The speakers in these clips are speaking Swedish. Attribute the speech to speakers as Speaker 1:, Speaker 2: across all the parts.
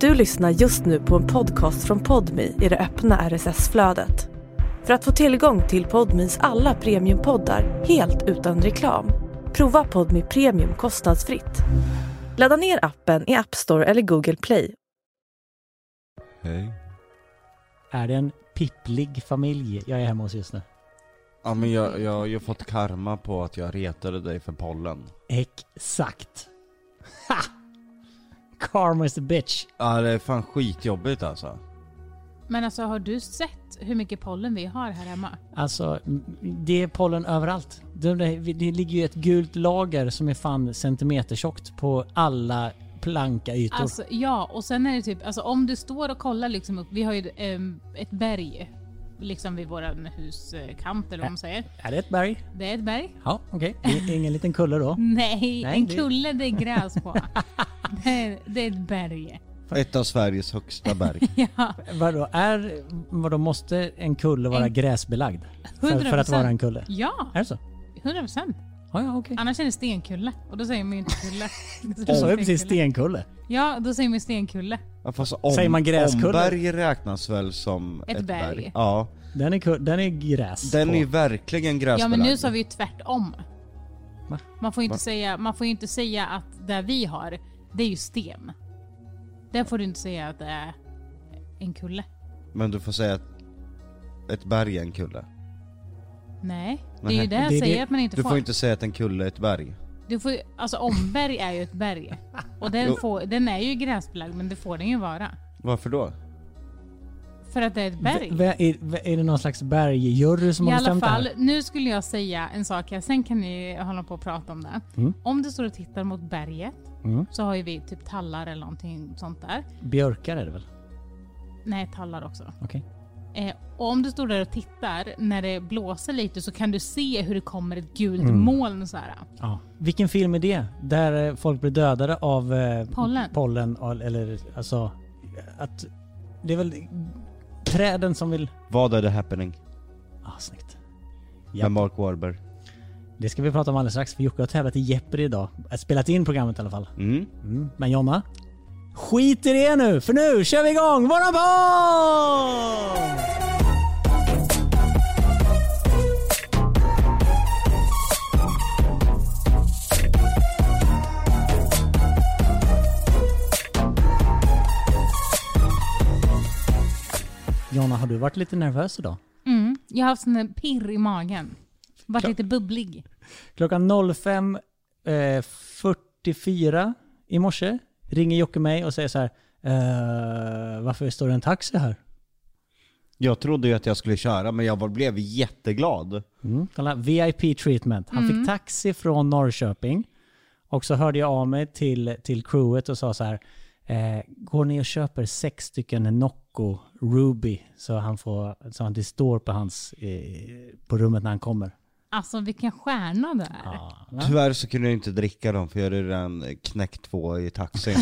Speaker 1: Du lyssnar just nu på en podcast från Podmi i det öppna RSS-flödet. För att få tillgång till Podmis alla premiumpoddar helt utan reklam, prova Podmi Premium kostnadsfritt. Ladda ner appen i App Store eller Google Play.
Speaker 2: Hej.
Speaker 3: Är det en pipplig familj jag är hemma hos just nu?
Speaker 2: Ja men jag, jag har ju fått karma på att jag retade dig för pollen.
Speaker 3: Exakt! Ha! Karma is a bitch.
Speaker 2: Ja det är fan skitjobbigt alltså.
Speaker 4: Men alltså har du sett hur mycket pollen vi har här hemma?
Speaker 3: Alltså, m- det är pollen överallt. Det, det det ligger ju ett gult lager som är fan centimetertjockt på alla planka ytor.
Speaker 4: Alltså ja, och sen är det typ, alltså om du står och kollar liksom upp, vi har ju ehm, ett berg liksom vid våran huskant eller vad man säger.
Speaker 3: Är det ett berg?
Speaker 4: Det är ett berg.
Speaker 3: Ja, okej. Det är ingen liten kulle då.
Speaker 4: Nej,
Speaker 3: Nej,
Speaker 4: en
Speaker 3: det-
Speaker 4: kulle det är gräs på. det, är, det är ett berg.
Speaker 2: Ett av Sveriges högsta berg.
Speaker 4: Ja,
Speaker 3: Vadå, är, vadå måste en kulle vara
Speaker 4: En-
Speaker 3: gräsbelagd? För, för att
Speaker 4: 100%.
Speaker 3: vara en kulle?
Speaker 4: ja
Speaker 3: Är det så?
Speaker 4: 100%.
Speaker 3: Ja, ja, okej.
Speaker 4: Annars är det stenkulle och då säger man ju inte kulle.
Speaker 3: Du sa ju precis stenkulle.
Speaker 4: Ja, då säger man ju stenkulle.
Speaker 2: Ja, fast om,
Speaker 3: Säger man gräskulle?
Speaker 2: Omberg räknas väl som
Speaker 4: Ett berg.
Speaker 2: Ja.
Speaker 3: Den är, ku- den är gräs
Speaker 2: Den
Speaker 3: på.
Speaker 2: är ju verkligen
Speaker 4: Ja
Speaker 2: gräsbelagd.
Speaker 4: men nu sa vi ju tvärtom.
Speaker 3: Va?
Speaker 4: Man får ju
Speaker 2: Va?
Speaker 4: inte, säga, man får ju inte säga att där vi har, det är ju sten. Där får du inte säga att det är en kulle.
Speaker 2: Men du får säga att ett berg är en kulle.
Speaker 4: Nej, det
Speaker 2: Nej,
Speaker 4: är ju det
Speaker 3: det
Speaker 4: jag
Speaker 3: är
Speaker 4: säger
Speaker 3: det-
Speaker 4: att man inte
Speaker 2: Du
Speaker 4: får.
Speaker 2: får inte säga att en kulle är ett berg.
Speaker 4: Du får, ju- alltså omberg är ju ett berg. Och den,
Speaker 2: Jo.
Speaker 4: får, den är ju gräsbelagd men det får den ju vara.
Speaker 2: Varför då?
Speaker 4: För att det är ett berg.
Speaker 3: V- v- är, v- är det någon slags bergjury som
Speaker 4: I
Speaker 3: har
Speaker 4: alla
Speaker 3: bestämt
Speaker 4: fall,
Speaker 3: det här?
Speaker 4: nu skulle jag säga en sak här, sen kan ni hålla på och prata om det. Om du står och tittar mot berget
Speaker 3: Mm.
Speaker 4: så har ju vi typ tallar eller någonting sånt där.
Speaker 3: Björkar är det väl?
Speaker 4: Nej, tallar också.
Speaker 3: Okej.
Speaker 4: Eh, och om du står där och tittar när det blåser lite så kan du se hur det kommer ett gult
Speaker 2: Mm.
Speaker 4: moln så här.
Speaker 3: Ja. Vilken film är det? Där eh, folk blir dödade av eh,
Speaker 4: Pollen.
Speaker 3: pollen och- eller alltså att det är väl träden som vill...
Speaker 2: Vad är the happening?
Speaker 3: Ah, snyggt.
Speaker 2: Med Mark Warburg.
Speaker 3: Det ska vi prata om alldeles strax för Jocke har tävlat i Jeopardy idag. Äh, Spelat in programmet i alla fall.
Speaker 2: Mm.
Speaker 3: Mm. Men Jonna? Skit i det nu för nu kör vi igång våran podd! Jonna, har du varit lite nervös idag?
Speaker 4: Mm. Jag har haft sån där pirr i magen. Varit lite bubblig.
Speaker 3: Klockan 05.44 i morse ringer Jocke mig och säger så här "Eh, Varför står det en taxi här?
Speaker 2: Jag trodde ju att jag skulle köra men jag var- blev jätteglad.
Speaker 3: Mm. Kolla, VIP treatment. Han
Speaker 4: Mm.
Speaker 3: fick taxi från Norrköping. Och så hörde jag av mig till, till crewet och sa så här. Eh, går ni och köper sex stycken Nocco Ruby så han får, så att det står på hans, eh, på rummet när han kommer.
Speaker 4: Alltså vilken stjärna det är.
Speaker 2: Tyvärr så kunde jag inte dricka dem för jag hade redan knäckt två i taxin.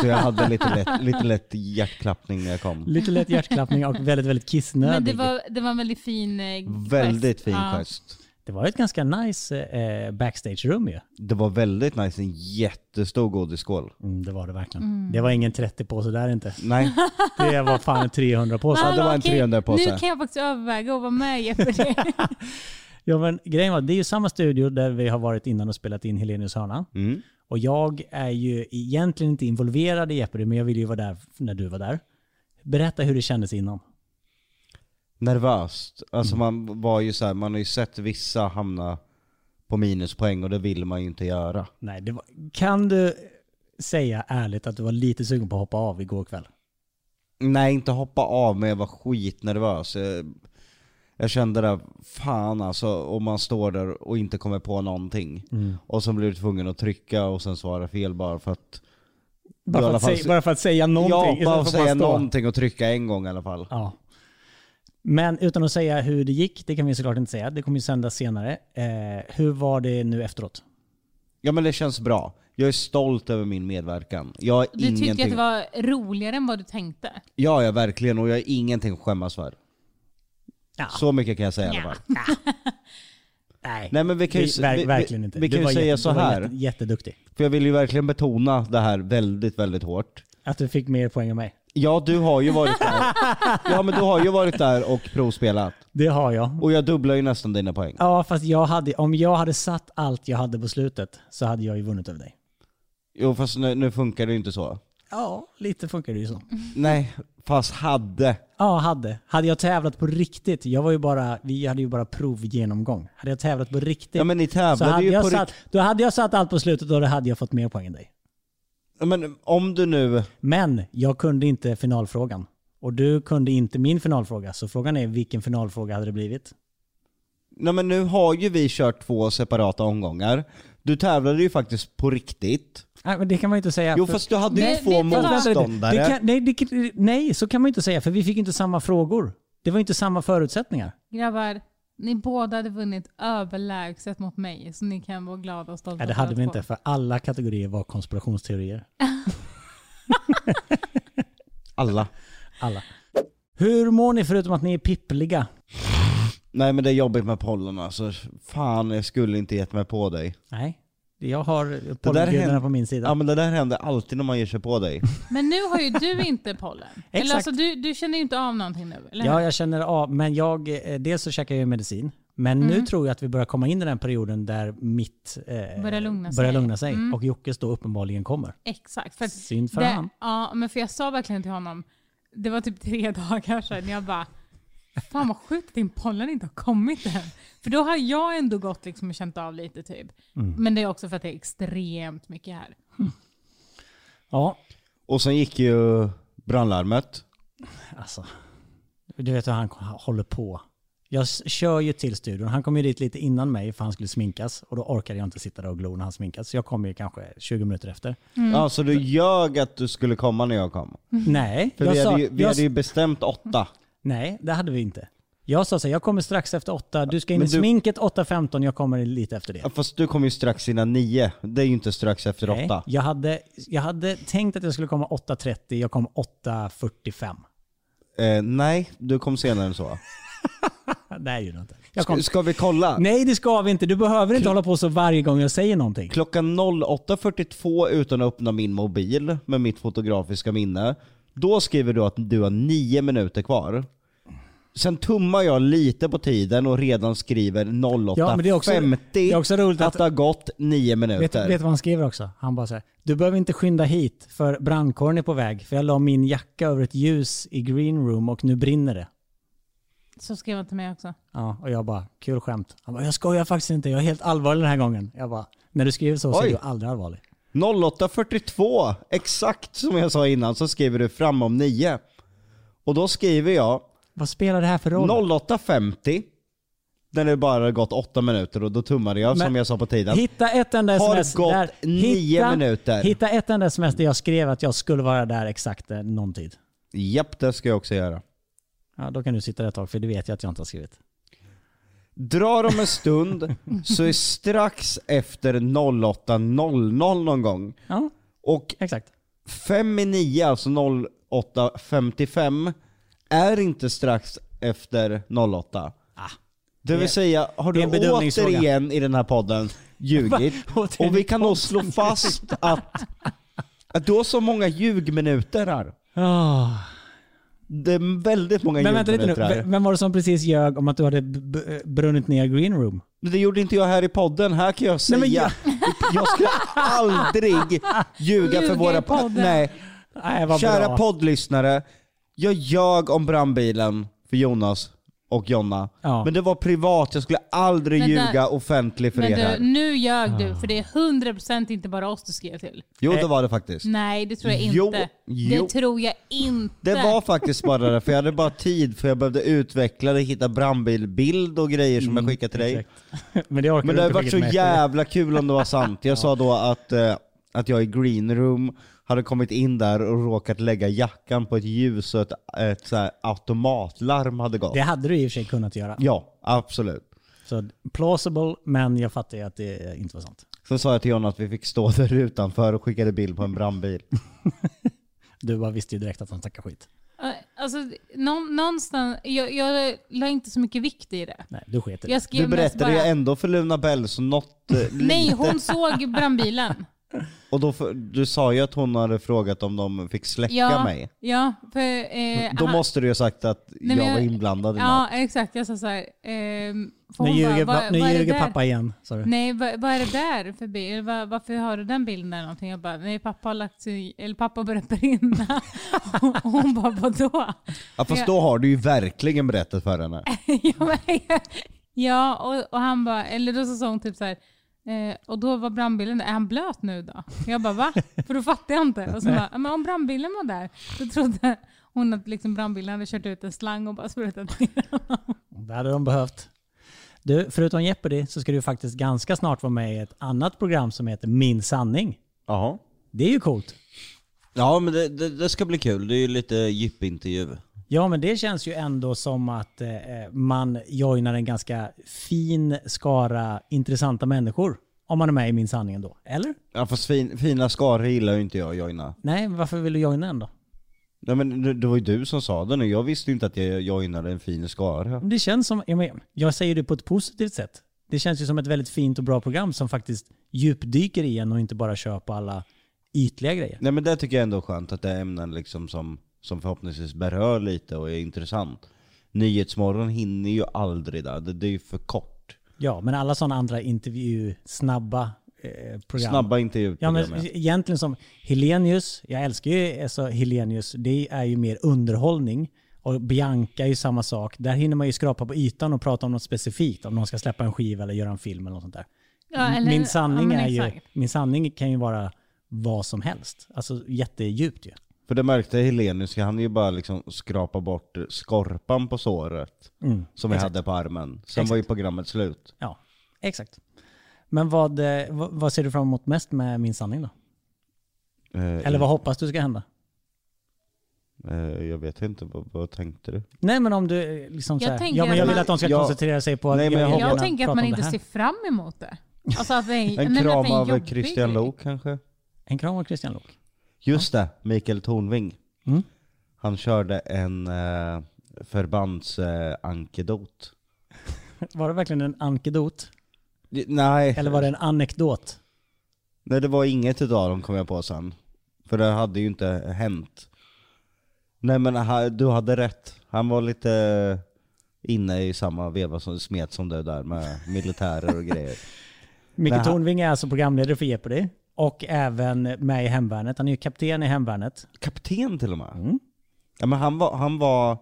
Speaker 2: så jag hade lite lätt, lite lätt hjärtklappning när jag kom.
Speaker 3: Lite lätt hjärtklappning och väldigt, väldigt kissnödig.
Speaker 4: Men det var, det var en väldigt fin eh, gest.
Speaker 2: Väldigt fin
Speaker 4: Ja.
Speaker 2: gest.
Speaker 3: det var ett ganska nice eh, backstage-rum ju.
Speaker 2: Det var väldigt nice, en jättestor godisskål.
Speaker 3: Mm, det var det verkligen. Det var ingen 30 påse där inte.
Speaker 2: Nej,
Speaker 3: Det var fan 300 påse.
Speaker 2: det var en
Speaker 4: okej,
Speaker 2: 300 påse.
Speaker 4: Nu kan jag faktiskt överväga att vara med i Jeopardy.
Speaker 3: Ja, men grejen var, det är ju samma studio där vi har varit innan och spelat in Helenius hörna.
Speaker 2: mm.
Speaker 3: Och jag är ju egentligen inte involverad i Jeopardy, men jag ville ju vara där när du var där. Berätta hur det kändes innan.
Speaker 2: nervöst. Alltså man var ju så här, man har ju sett vissa hamna på minuspoäng och det vill man ju inte göra.
Speaker 3: Nej, det var, kan du säga ärligt att du var lite sugen på att hoppa av igår kväll?
Speaker 2: Nej, inte hoppa av, men jag var skitnervös. Jag, jag kände det, fan alltså, om man står där och inte kommer på någonting.
Speaker 3: Mm.
Speaker 2: Och så blir du tvungen att trycka och sen svara fel bara för att...
Speaker 3: Bara,
Speaker 2: I
Speaker 3: för
Speaker 2: alla
Speaker 3: att,
Speaker 2: fall-
Speaker 3: säga, bara för att säga någonting
Speaker 2: ja, bara
Speaker 3: istället
Speaker 2: att
Speaker 3: för att
Speaker 2: säga
Speaker 3: bara stå.
Speaker 2: någonting och trycka en gång i alla fall.
Speaker 3: Ja. Men utan att säga hur det gick, det kan vi såklart inte säga. Det kommer ju sändas senare. Eh, hur var det nu efteråt?
Speaker 2: Ja men det känns bra. Jag är stolt över min medverkan. Jag har
Speaker 4: Du
Speaker 2: ingenting...
Speaker 4: tyckte att det var roligare än vad du tänkte.
Speaker 2: Ja, ja verkligen. Och jag har ingenting att skämmas för.
Speaker 3: Ja.
Speaker 2: Så mycket kan jag säga i alla
Speaker 4: Ja.
Speaker 2: fall. Nej men vi kan ju,
Speaker 3: Vi,
Speaker 2: s-
Speaker 3: ver,
Speaker 2: vi,
Speaker 3: verkligen
Speaker 2: vi,
Speaker 3: inte.
Speaker 2: Vi kan
Speaker 3: du
Speaker 2: ju
Speaker 3: var
Speaker 2: säga
Speaker 3: jätte,
Speaker 2: så
Speaker 3: du var
Speaker 2: här,
Speaker 3: Jätte, jätteduktig.
Speaker 2: för jag vill ju verkligen betona det här väldigt, väldigt hårt.
Speaker 3: Att du fick mer poäng än mig.
Speaker 2: Ja, du har ju varit där. Ja, men du har ju varit där och provspelat.
Speaker 3: Det har jag.
Speaker 2: Och jag dubblar ju nästan dina poäng.
Speaker 3: Ja, fast jag hade, om jag hade satt allt jag hade på slutet så hade jag ju vunnit över dig.
Speaker 2: Jo, fast nu, nu funkar det ju inte så.
Speaker 3: Ja, lite funkar det ju så.
Speaker 2: Nej, fast hade.
Speaker 3: Ja, hade. Hade jag tävlat på riktigt, jag var ju bara, vi hade ju bara provgenomgång. Hade jag tävlat på riktigt,
Speaker 2: Ja, men ni
Speaker 3: så
Speaker 2: tävlade
Speaker 3: hade
Speaker 2: ju på
Speaker 3: jag
Speaker 2: rikt-
Speaker 3: satt, då hade jag satt allt på slutet och då hade jag fått mer poäng än dig.
Speaker 2: Ja, Men om du nu...
Speaker 3: Men jag kunde inte finalfrågan. Och du kunde inte min finalfråga, så frågan är vilken finalfråga hade det blivit?
Speaker 2: Nej men nu har ju vi kört två separata omgångar. Du tävlade ju faktiskt på riktigt.
Speaker 3: Nej, men det kan man ju inte säga.
Speaker 2: Jo
Speaker 3: för-
Speaker 2: fast du hade ju
Speaker 4: Nej,
Speaker 2: två
Speaker 4: nej, fast vänta
Speaker 2: motståndare.
Speaker 3: Det kan, nej, det, kan- nej, så kan man ju inte säga, för vi fick ju inte samma frågor. Det var ju inte samma förutsättningar.
Speaker 4: Grabbar, ni båda hade vunnit överlägset mot mig, så ni kan vara glada och stolta.
Speaker 3: Nej, det
Speaker 4: för
Speaker 3: hade
Speaker 4: att
Speaker 3: vi
Speaker 4: få-
Speaker 3: inte, för alla kategorier var konspirationsteorier.
Speaker 2: Alla.
Speaker 3: Alla. Hur mår ni förutom att ni är pippliga?
Speaker 2: Nej men det är jobbigt med pollen alltså. Fan jag skulle inte gett mig på dig.
Speaker 3: Nej, jag har pollengudarna
Speaker 2: händer-
Speaker 3: på min sida.
Speaker 2: Ja men det där händer alltid när man ger sig på dig.
Speaker 4: Men nu har ju du inte pollen.
Speaker 3: Exakt.
Speaker 4: Eller alltså, du, du känner ju inte av någonting nu, eller
Speaker 3: Ja,
Speaker 4: hur?
Speaker 3: jag känner av, men jag, eh, dels så käkar jag ju medicin, men
Speaker 4: Mm.
Speaker 3: nu tror jag att vi börjar komma in i den perioden där mitt eh,
Speaker 4: Börjar lugna sig. Mm.
Speaker 3: börjar lugna sig. Och Jockes då uppenbarligen kommer.
Speaker 4: Exakt. För att
Speaker 3: Synd för
Speaker 4: det,
Speaker 3: han.
Speaker 4: Ja, men för jag sa verkligen till honom, det var typ tre dagar sedan, jag bara Fan vad sjukt att din pollen inte har kommit än. För då har jag ändå gått liksom och känt av lite typ.
Speaker 2: Mm.
Speaker 4: Men det är också för att det är extremt mycket här.
Speaker 3: Ja,
Speaker 2: Och sen gick ju brandlarmet.
Speaker 3: alltså. Du vet hur han håller på. Jag s- kör ju till studion. Han kom ju dit lite innan mig för han skulle sminkas. Och då orkade jag inte sitta där och glo när han sminkas. Så jag kom ju kanske 20 minuter efter.
Speaker 4: Mm.
Speaker 2: Ja så du ljög att du skulle komma när jag kom.
Speaker 3: Nej,
Speaker 2: För
Speaker 3: Mm. jag
Speaker 2: vi,
Speaker 3: sa,
Speaker 2: hade ju, vi
Speaker 3: jag,
Speaker 2: hade ju bestämt åtta.
Speaker 3: nej, det hade vi inte. Jag sa så här, jag kommer strax efter åtta. Du ska in
Speaker 2: Men
Speaker 3: i
Speaker 2: du-
Speaker 3: sminket 8.15, jag kommer lite efter det.
Speaker 2: Ja, Fast du kom ju strax innan nio. Det är ju inte strax efter
Speaker 3: Nej,
Speaker 2: åtta.
Speaker 3: Jag hade, jag hade tänkt att jag skulle komma 8.30, jag kom 8.45.
Speaker 2: Eh, nej, du kom senare än så.
Speaker 3: Nej, gjorde jag inte. Jag kom,
Speaker 2: Ska, ska vi kolla?
Speaker 3: nej, det ska vi inte. Du behöver inte hålla på så varje gång jag säger någonting.
Speaker 2: Klockan 08.42 utan att öppna min mobil med mitt fotografiska minne. Då skriver du att du har nio minuter kvar. Sen tummar jag lite på tiden och redan skriver 08.50
Speaker 3: Ja, men det är också- det är också roligt
Speaker 2: att,
Speaker 3: att-
Speaker 2: det har gått nio
Speaker 3: Vet,
Speaker 2: minuter.
Speaker 3: vet du vad han skriver också? Han bara så här, du behöver inte skynda hit för brandkåren är på väg. För jag la min jacka över ett ljus i green room och nu brinner det.
Speaker 4: Så skrev han till mig också.
Speaker 3: Ja, och jag bara, kul skämt. Han bara, jag skojar faktiskt inte, jag är helt allvarlig den här gången. Jag bara, när du skriver så, så är
Speaker 2: Oj.
Speaker 3: du aldrig allvarlig.
Speaker 2: 08.42, exakt som jag sa innan, så skriver du fram om nio. Och då skriver jag
Speaker 3: Vad spelar det här för roll?
Speaker 2: 08.50 när det bara har gått åtta minuter och då tummade jag
Speaker 3: Men-
Speaker 2: som jag sa på tiden.
Speaker 3: Hitta ett enda
Speaker 2: Har
Speaker 3: sms.
Speaker 2: gått
Speaker 3: där,
Speaker 2: nio
Speaker 3: hitta,
Speaker 2: minuter.
Speaker 3: Hitta ett enda sms där jag skrev att jag skulle vara där exakt eh, någon tid.
Speaker 2: Japp, det ska jag också göra.
Speaker 3: Ja, då kan du sitta där ett tag, för det vet jag att jag inte har skrivit.
Speaker 2: Drar om en stund så är strax efter 08.00 någon gång.
Speaker 3: Ja,
Speaker 2: Och
Speaker 3: exakt.
Speaker 2: fem i nio, alltså 08.55, är inte strax efter 08.
Speaker 3: Ah.
Speaker 2: Det
Speaker 3: Det-
Speaker 2: vill säga, har
Speaker 3: det är
Speaker 2: du
Speaker 3: en bedömningsfråga.
Speaker 2: återigen i den här podden ljugit?
Speaker 3: Va? Återigen
Speaker 2: Och vi kan nog slå fast att, att du har så många ljugminuter här.
Speaker 3: Ah.
Speaker 2: Det är väldigt många
Speaker 3: Men vänta lite nu,
Speaker 2: ljudminuter
Speaker 3: V-
Speaker 2: här.
Speaker 3: vem var det som precis ljög om att du hade b- b- brunnit ner green room?
Speaker 2: Men Det gjorde inte jag här i podden, här kan jag säga.
Speaker 3: Nej, men jag-
Speaker 2: jag... skulle aldrig ljuga
Speaker 4: Ljuga
Speaker 2: för våra...
Speaker 4: i podden.
Speaker 2: Nej,
Speaker 3: Nej, vad
Speaker 2: kära
Speaker 3: bra.
Speaker 2: poddlyssnare. Jag ljög om brandbilen för Jonas och Jonna.
Speaker 3: Ja.
Speaker 2: Men det var privat, jag skulle aldrig
Speaker 4: Men där-
Speaker 2: ljuga offentligt för
Speaker 4: Men
Speaker 2: er Ah.
Speaker 4: du,
Speaker 2: här.
Speaker 4: nu ljög du, för det är 100% inte bara oss du skrev till.
Speaker 2: Jo det var det faktiskt.
Speaker 4: Nej, det tror jag inte.
Speaker 2: Jo,
Speaker 4: Det
Speaker 2: jo.
Speaker 4: tror jag inte.
Speaker 2: Det var faktiskt bara det, för jag hade bara tid för jag behövde utveckla det, hitta brandbilbild och grejer som jag skickade till dig.
Speaker 3: Mm, Exakt. Men det orkar
Speaker 2: Men det
Speaker 3: du
Speaker 2: hade
Speaker 3: inte
Speaker 2: varit så
Speaker 3: skicka till mig efter
Speaker 2: jävla kul om det var sant. Jag sa då att, eh, att jag i green room hade kommit in där och råkat lägga jackan på ett ljus och ett, ett så här automatlarm hade gått.
Speaker 3: det. Det hade du i och för sig kunnat göra.
Speaker 2: Ja, absolut.
Speaker 3: Så plausible, men jag fattar ju att det inte var sant.
Speaker 2: Sen sa jag till John att vi fick stå där utanför och skickade bild på en brandbil.
Speaker 3: Du bara visste ju direkt att han snackade skit.
Speaker 4: Eh, Alltså, nå- någonstans, jag, jag la inte så mycket vikt i det.
Speaker 3: Nej, du sket i det.
Speaker 4: Jag skrev
Speaker 2: Du
Speaker 4: mest
Speaker 2: berättade ju
Speaker 4: bara,
Speaker 2: ändå för Luna Bell så något eh,
Speaker 4: alltså Nej,
Speaker 2: lite-
Speaker 4: hon såg brandbilen.
Speaker 2: Och då, för- du sa ju att hon hade frågat om de fick släcka
Speaker 4: ja,
Speaker 2: mig.
Speaker 4: Ja, för, eh,
Speaker 2: Då
Speaker 4: han-
Speaker 2: måste du ju ha sagt att
Speaker 4: men
Speaker 2: jag
Speaker 4: jag-
Speaker 2: var inblandad i något.
Speaker 4: Ja, exakt. Jag sa så här. ehm, för
Speaker 3: Nu
Speaker 4: hon bara,
Speaker 3: ljuger,
Speaker 4: "Vad-
Speaker 3: pa- nu
Speaker 4: vad är det
Speaker 3: ljuger
Speaker 4: där?"
Speaker 3: pappa igen. Sa du.
Speaker 4: Nej, vad, vad är det där för bild? Var, varför har du den bilden eller någonting? Jag bara, nej pappa har lagt sig, eller pappa har börjat brinna. Och hon bara, vadå?
Speaker 2: Ja, fast då har du ju verkligen berättat för henne.
Speaker 4: ja, men, ja och, och han bara, eller då så sa hon typ så här, eh, och då var brandbilen där, är han blöt nu då? Jag bara va? För då fattade jag inte. Och så bara, men om brandbilen var där, då trodde hon att liksom brandbilen hade kört ut en slang och bara sprutat ner honom.
Speaker 3: Det hade de behövt. Du, förutom Jeopardy så ska du faktiskt ganska snart vara med i ett annat program som heter Min sanning.
Speaker 2: Jaha.
Speaker 3: Det är ju coolt.
Speaker 2: Ja men det, det, det ska bli kul, det är ju lite djupintervju.
Speaker 3: Ja, men det känns ju ändå som att eh, man joinar en ganska fin skara intressanta människor. Om man är med i Min sanning då. Eller?
Speaker 2: Ja fast fin, fina skaror gillar ju inte jag joina.
Speaker 3: Nej, men varför vill du joina en då?
Speaker 2: Nej men det, det var ju du som sa det nu, jag visste ju inte att jag joinade en fin skara.
Speaker 3: Men Det känns som, jag, men, jag säger det på ett positivt sätt. Det känns ju som ett väldigt fint och bra program som faktiskt djupdyker i en och inte bara kör på alla ytliga grejer.
Speaker 2: Nej men det tycker jag ändå är skönt att det är ämnen liksom som, som förhoppningsvis berör lite och är intressant. Nyhetsmorgon hinner ju aldrig där, det, det är ju för kort.
Speaker 3: Ja, men alla sådana andra intervju, snabba eh, program.
Speaker 2: Snabba intervjuer.
Speaker 3: Ja, men egentligen som Helenius, jag älskar ju alltså, Helenius, det är ju mer underhållning. Och Bianca är ju samma sak. Där hinner man ju skrapa på ytan och prata om något specifikt. Om någon ska släppa en skiva eller göra en film eller något sånt där.
Speaker 4: Ja, eller-
Speaker 3: min,
Speaker 4: ja,
Speaker 3: sanning
Speaker 4: men
Speaker 3: är ju,
Speaker 4: exakt.
Speaker 3: min sanning kan ju vara vad som helst. Alltså jättedjupt ju.
Speaker 2: För det märkte Helenius, han ju bara liksom skrapa bort skorpan på såret
Speaker 3: Mm,
Speaker 2: som jag hade på armen. Sen var ju programmet slut.
Speaker 3: Ja, exakt. Men vad, eh, vad, vad ser du fram emot mest med Min sanning då?
Speaker 2: Eh,
Speaker 3: Eller vad hoppas du ska hända?
Speaker 2: eh, jag vet inte, vad, vad tänkte du?
Speaker 3: Nej men om du eh, liksom
Speaker 4: Jag
Speaker 3: så här,
Speaker 4: tänker
Speaker 3: ja, men
Speaker 4: att
Speaker 3: jag vill
Speaker 4: man-
Speaker 3: att de ska
Speaker 2: Ja.
Speaker 3: koncentrera sig på att
Speaker 2: Nej, men jag
Speaker 3: vill
Speaker 2: hoppas-
Speaker 4: Jag
Speaker 3: gärna
Speaker 4: tänker att
Speaker 3: prata
Speaker 4: man
Speaker 3: om det
Speaker 4: inte
Speaker 3: här.
Speaker 4: ser fram emot det. Alltså att det är,
Speaker 2: En
Speaker 4: nej, men att
Speaker 2: kram
Speaker 4: det är
Speaker 2: av
Speaker 4: jobbig-
Speaker 2: Christian Lok kanske?
Speaker 3: En kram av Christian Lok.
Speaker 2: Just det, Mikael Tornving.
Speaker 3: Mm.
Speaker 2: Han körde en eh, förbandsankedot.
Speaker 3: Var det verkligen en ankedot?
Speaker 2: Nej.
Speaker 3: Eller var det en anekdot?
Speaker 2: Nej det var inget utav dem kom jag på sen. För det hade ju inte hänt. Nej men ha- du hade rätt. Han var lite inne i samma veva som smet som du där med militärer och grejer.
Speaker 3: Micke
Speaker 2: Nej, han-
Speaker 3: Tornving är alltså programledare för Jeopardy och även med i Hemvärnet. Han är ju kapten i Hemvärnet.
Speaker 2: Kapten till och med.
Speaker 3: Mm.
Speaker 2: Ja, men han, var, han var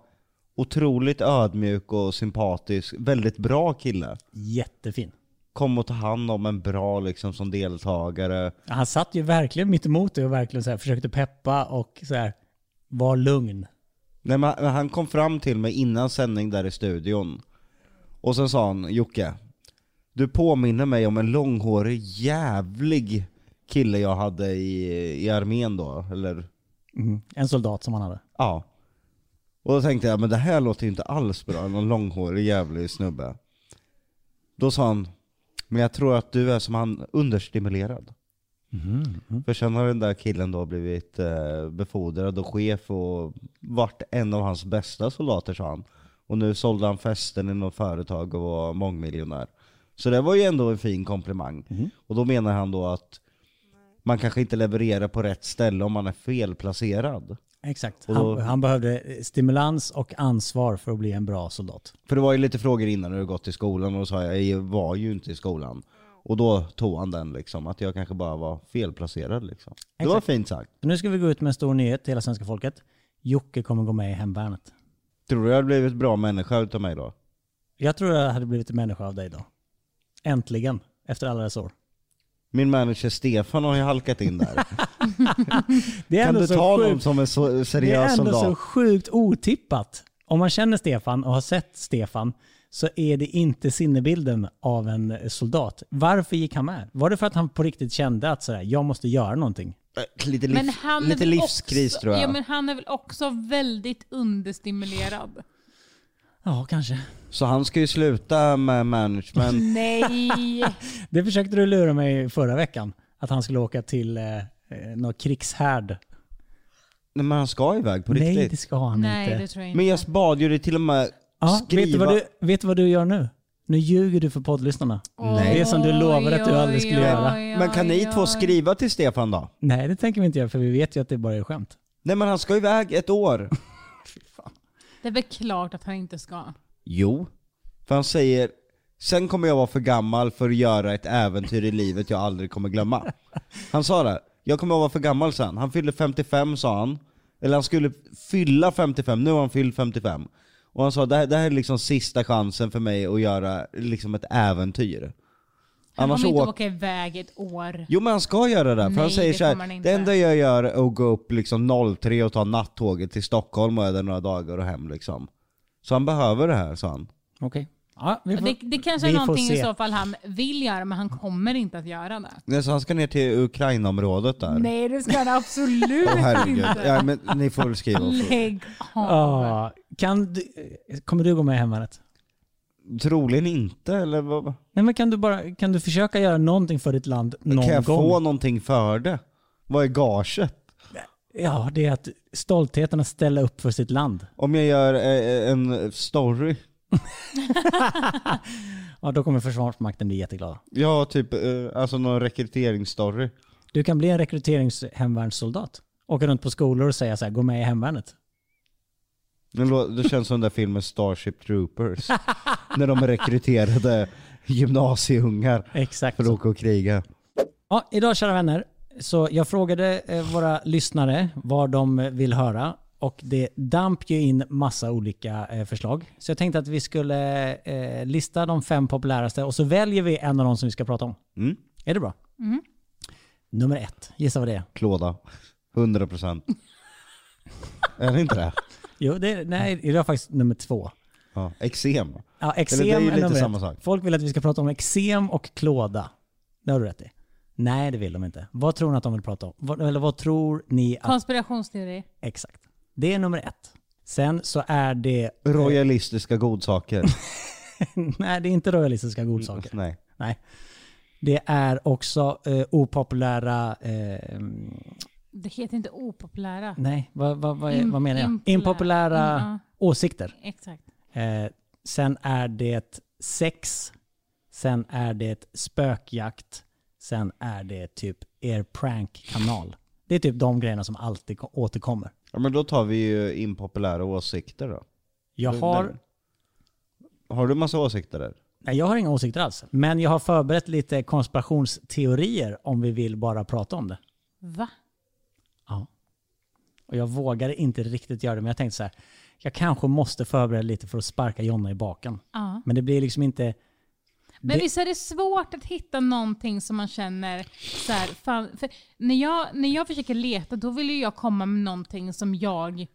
Speaker 2: otroligt ödmjuk och sympatisk. Väldigt bra kille.
Speaker 3: Jättefin.
Speaker 2: Kom och ta hand om en bra liksom som deltagare.
Speaker 3: Han satt ju verkligen mitt emot dig och verkligen så här, försökte peppa och så här, var lugn.
Speaker 2: Nej, men han- han kom fram till mig innan sändning där i studion. Och sen sa han, Jocke, du påminner mig om en långhårig jävlig kille jag hade i, i armén då, eller?
Speaker 3: En soldat som han hade.
Speaker 2: Ja. Och då tänkte jag, men det här låter ju inte alls bra, någon långhårig jävlig snubbe. Då sa han, men jag tror att du är som han, understimulerad. För sen har den där killen då blivit eh, befordrad och chef och varit en av hans bästa soldater sa han. Och nu sålde han festen i något företag och var mångmiljonär. Så det var ju ändå en fin komplimang. Och då menar han då att man kanske inte levererar på rätt ställe om man är felplacerad.
Speaker 3: Exakt.
Speaker 2: Och
Speaker 3: Han,
Speaker 2: då-
Speaker 3: han behövde eh, stimulans och ansvar för att bli en bra soldat.
Speaker 2: För det var ju lite frågor innan hur det gått i skolan och då sa jag, jag var ju inte i skolan. Och då tog han den liksom, att jag kanske bara var felplacerad liksom. Det var fint sagt.
Speaker 3: Så nu ska vi gå ut med en stor nyhet till hela svenska folket. Jocke kommer gå med i Hemvärnet.
Speaker 2: Tror du jag hade blivit bra människa utav mig då?
Speaker 3: Jag tror jag hade blivit en människa av dig då. Äntligen, efter alla dessa år.
Speaker 2: Min manager Stefan har ju halkat in där.
Speaker 3: Det är
Speaker 2: kan
Speaker 3: ändå
Speaker 2: du
Speaker 3: så
Speaker 2: ta
Speaker 3: sjukt.
Speaker 2: honom som en så,
Speaker 3: Det är
Speaker 2: seriös
Speaker 3: ändå
Speaker 2: soldat?
Speaker 3: så sjukt otippat. Om man känner Stefan och har sett Stefan så är det inte sinnebilden av en soldat. Varför gick han med? Var det för att han på riktigt kände att sådär, jag måste göra någonting?
Speaker 2: Äh, Lite,
Speaker 4: Men
Speaker 2: liv,
Speaker 4: han är
Speaker 2: lite
Speaker 4: väl
Speaker 2: livskris
Speaker 4: också,
Speaker 2: tror jag.
Speaker 4: Ja, men han är väl också väldigt understimulerad.
Speaker 3: Ja, kanske.
Speaker 2: Så han ska ju sluta med management.
Speaker 4: Nej!
Speaker 3: Det försökte du lura mig förra veckan. Att han skulle åka till eh, eh, någon krigshärd.
Speaker 2: Nej, men han ska iväg på
Speaker 3: Nej, det
Speaker 2: riktigt.
Speaker 3: ska han
Speaker 4: Nej,
Speaker 3: inte.
Speaker 4: det tror jag inte.
Speaker 2: Men jag bad ju dig till och med
Speaker 3: Ja, vet, du
Speaker 2: skriva...
Speaker 3: vad du, vet du vad du gör nu? Nu ljuger du för poddlyssnarna.
Speaker 2: Nej.
Speaker 3: Det är som du lovade att du aldrig skulle göra.
Speaker 2: Men kan ni två skriva till Stefan då?
Speaker 3: Nej, det tänker vi inte göra för vi vet ju att det bara är skämt.
Speaker 2: Nej men han ska iväg ett år.
Speaker 4: Det är väl klart att han inte ska.
Speaker 2: Jo. För han säger, sen kommer jag vara för gammal för att göra ett äventyr i livet jag aldrig kommer glömma. Han sa det, jag kommer vara för gammal sen. Han fyllde 55 sa han. Eller han skulle fylla 55, nu har han fyllt 55. Och han sa, det här, det här är liksom sista chansen för mig att göra liksom ett äventyr.
Speaker 4: Han
Speaker 2: Annars
Speaker 4: kommer inte
Speaker 2: åk-
Speaker 4: åka iväg ett år.
Speaker 2: Jo men han ska göra det, för
Speaker 4: Nej,
Speaker 2: han säger
Speaker 4: det
Speaker 2: så
Speaker 4: kommer han
Speaker 2: här,
Speaker 4: inte.
Speaker 2: det enda jag gör är att gå upp liksom 03 och ta nattåget till Stockholm och är där några dagar och hem liksom. Så han behöver det här sa han.
Speaker 3: Okej. Ja, vi får...
Speaker 4: Det, det kanske är
Speaker 3: vi får
Speaker 4: någonting i
Speaker 3: se.
Speaker 4: så fall han vill göra, men han kommer inte att göra det.
Speaker 2: Nej, så han ska ner till Ukrainaområdet där.
Speaker 4: Nej, det ska han absolut
Speaker 2: Åh herregud.
Speaker 4: inte.
Speaker 2: Ja, men ni får väl skriva också.
Speaker 4: Lägg av.
Speaker 3: Ja, kan du... Kommer du gå med i Hemvärnet?
Speaker 2: Troligen inte, eller vad?
Speaker 3: Nej men kan du bara, kan du försöka göra någonting för ditt land någon
Speaker 2: Kan jag
Speaker 3: gång?
Speaker 2: få någonting för det? Vad är gaget?
Speaker 3: Ja, det är att stoltheten att ställa upp för sitt land.
Speaker 2: Om jag gör eh, en story?
Speaker 3: Ja, då kommer Försvarsmakten bli jätteglada.
Speaker 2: Ja, typ eh, alltså någon rekryteringsstory.
Speaker 3: Du kan bli en rekryteringshemvärnssoldat. Åka runt på skolor och säga så här, gå med i hemvärnet.
Speaker 2: Det lå- Det känns som den där filmen Starship Troopers. när de rekryterade gymnasieungar
Speaker 3: Exakt.
Speaker 2: för att åka och kriga.
Speaker 3: Ja, idag kära vänner, så jag frågade eh, våra lyssnare vad de eh, vill höra och det damp ju in massa olika eh, förslag. Så jag tänkte att vi skulle eh, lista de fem populäraste och så väljer vi en av dem som vi ska prata om.
Speaker 2: Mm.
Speaker 3: Är det bra? Nummer ett, gissa vad det är?
Speaker 2: Klåda. 100%. är det inte det?
Speaker 3: Jo, det är, nej, det var faktiskt nummer två.
Speaker 2: Ja. Eksem.
Speaker 3: Ja, eksem
Speaker 2: Mm. Eller det är ju lite
Speaker 3: nummer
Speaker 2: samma
Speaker 3: ett.
Speaker 2: sak.
Speaker 3: Folk vill att vi ska prata om eksem och klåda. Det har du rätt i. Nej, det vill de inte. Vad tror ni att de vill prata om? Vad, eller vad tror ni att...
Speaker 4: Konspirationsteori.
Speaker 3: Exakt. Det är nummer ett. Sen så är det...
Speaker 2: Royalistiska godsaker.
Speaker 3: Nej, det är inte royalistiska godsaker.
Speaker 2: Nej.
Speaker 3: Nej. Det är också eh, opopulära... Eh,
Speaker 4: Det heter inte opopulära.
Speaker 3: nej, vad, vad, vad, är,
Speaker 4: Im-
Speaker 3: vad menar jag?
Speaker 4: impopulära.
Speaker 3: Impopulära
Speaker 4: Mm, ja.
Speaker 3: åsikter.
Speaker 4: Exakt.
Speaker 3: Eh, sen är det sex. Sen är det spökjakt. Sen är det typ er prankkanal. Det är typ de grejerna som alltid ko- återkommer.
Speaker 2: Ja men då tar vi ju impopulära åsikter då.
Speaker 3: Jag har,
Speaker 2: Har du massa åsikter där?
Speaker 3: nej, jag har inga åsikter alls, men jag har förberett lite konspirationsteorier om vi vill bara prata om det.
Speaker 4: Va?
Speaker 3: Ja. Och jag vågade inte riktigt göra det, men jag tänkte så här. Jag kanske måste förbereda lite för att sparka Jonna i baken.
Speaker 4: Ja.
Speaker 3: Men det blir liksom inte...
Speaker 4: Men
Speaker 3: Det-
Speaker 4: visst är det svårt att hitta någonting som man känner så här, fan, för när jag, när jag försöker leta då vill ju jag komma med någonting som jag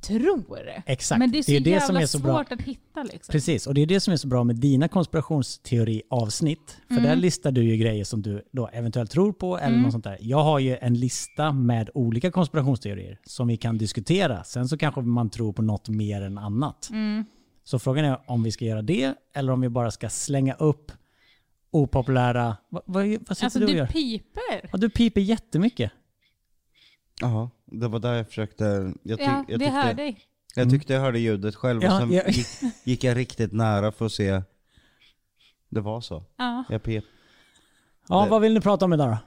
Speaker 4: tror.
Speaker 3: Exakt.
Speaker 4: Men det är så
Speaker 3: Det är det
Speaker 4: jävla
Speaker 3: som är så bra.
Speaker 4: svårt att hitta liksom.
Speaker 3: Precis, och det är det som är så bra med dina konspirationsteoriavsnitt. För
Speaker 4: Mm.
Speaker 3: där listar du ju grejer som du då eventuellt tror på eller något sånt där. Jag har ju en lista med olika konspirationsteorier som vi kan diskutera. Sen så kanske man tror på något mer än annat.
Speaker 4: Mm.
Speaker 3: Så frågan är om vi ska göra det eller om vi bara ska slänga upp opopulära... Vad, vad, vad sitter
Speaker 4: Alltså
Speaker 3: du och
Speaker 4: du
Speaker 3: gör?
Speaker 4: piper.
Speaker 3: Ja, du piper jättemycket.
Speaker 2: Ja, det var där jag försökte... Jag, ty-
Speaker 4: Ja,
Speaker 2: jag,
Speaker 4: det hör
Speaker 2: tyckte,
Speaker 4: dig.
Speaker 2: jag tyckte jag hörde ljudet själv och
Speaker 3: Ja,
Speaker 2: sen
Speaker 3: ja.
Speaker 2: Gick, gick jag riktigt nära för att se. Det var så.
Speaker 4: Ja.
Speaker 2: Jag pep.
Speaker 3: Ja,
Speaker 2: Det-
Speaker 3: vad vill ni prata om idag då?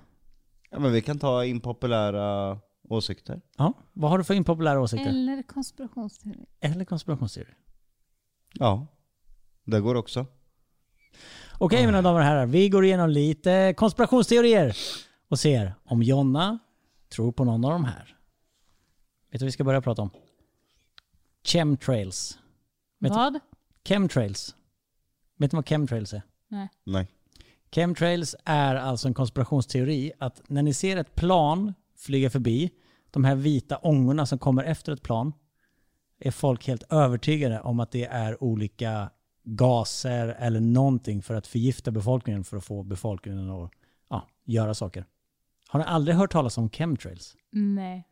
Speaker 2: Ja men vi kan ta impopulära åsikter.
Speaker 3: Ja, vad har du för impopulära åsikter?
Speaker 4: Eller konspirationsteori.
Speaker 3: Eller konspirationsteorier?
Speaker 2: Ja. Det går också.
Speaker 3: Okej mina damer och herrar, vi går igenom lite konspirationsteorier och ser om Jonna tror på någon av de här. Vet du vad vi ska börja prata om? Chemtrails. Vet du-
Speaker 4: Vad?
Speaker 3: Chemtrails. Vet du vad chemtrails är?
Speaker 4: Nej.
Speaker 2: Nej.
Speaker 3: Chemtrails är alltså en konspirationsteori att när ni ser ett plan flyga förbi, de här vita ångorna som kommer efter ett plan, är folk helt övertygade om att det är olika gaser eller någonting för att förgifta befolkningen för att få befolkningen att ja, göra saker. Har ni aldrig hört talas om chemtrails?
Speaker 4: Nej.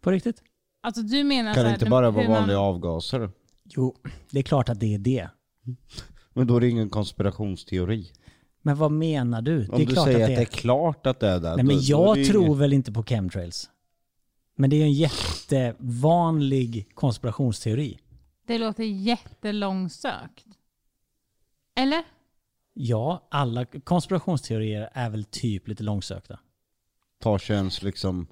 Speaker 3: På riktigt?
Speaker 4: Alltså du menar
Speaker 2: Kan
Speaker 4: så
Speaker 2: det
Speaker 4: här,
Speaker 2: inte
Speaker 4: den-
Speaker 2: bara vara
Speaker 4: hur man-
Speaker 2: vanliga avgaser?
Speaker 3: Jo, det är klart att det är det.
Speaker 2: Men då är det ingen konspirationsteori.
Speaker 3: Men vad menar du?
Speaker 2: Om du säger att det är klart att det är det.
Speaker 3: Nej, men
Speaker 2: då- då är
Speaker 3: jag
Speaker 2: det ju
Speaker 3: tror
Speaker 2: inget-
Speaker 3: väl inte på chemtrails. Men det är ju en jättevanlig konspirationsteori.
Speaker 4: Det låter jättelångsökt. Eller?
Speaker 3: Ja, alla konspirationsteorier är väl typ lite långsökta.
Speaker 2: Tar sig ens liksom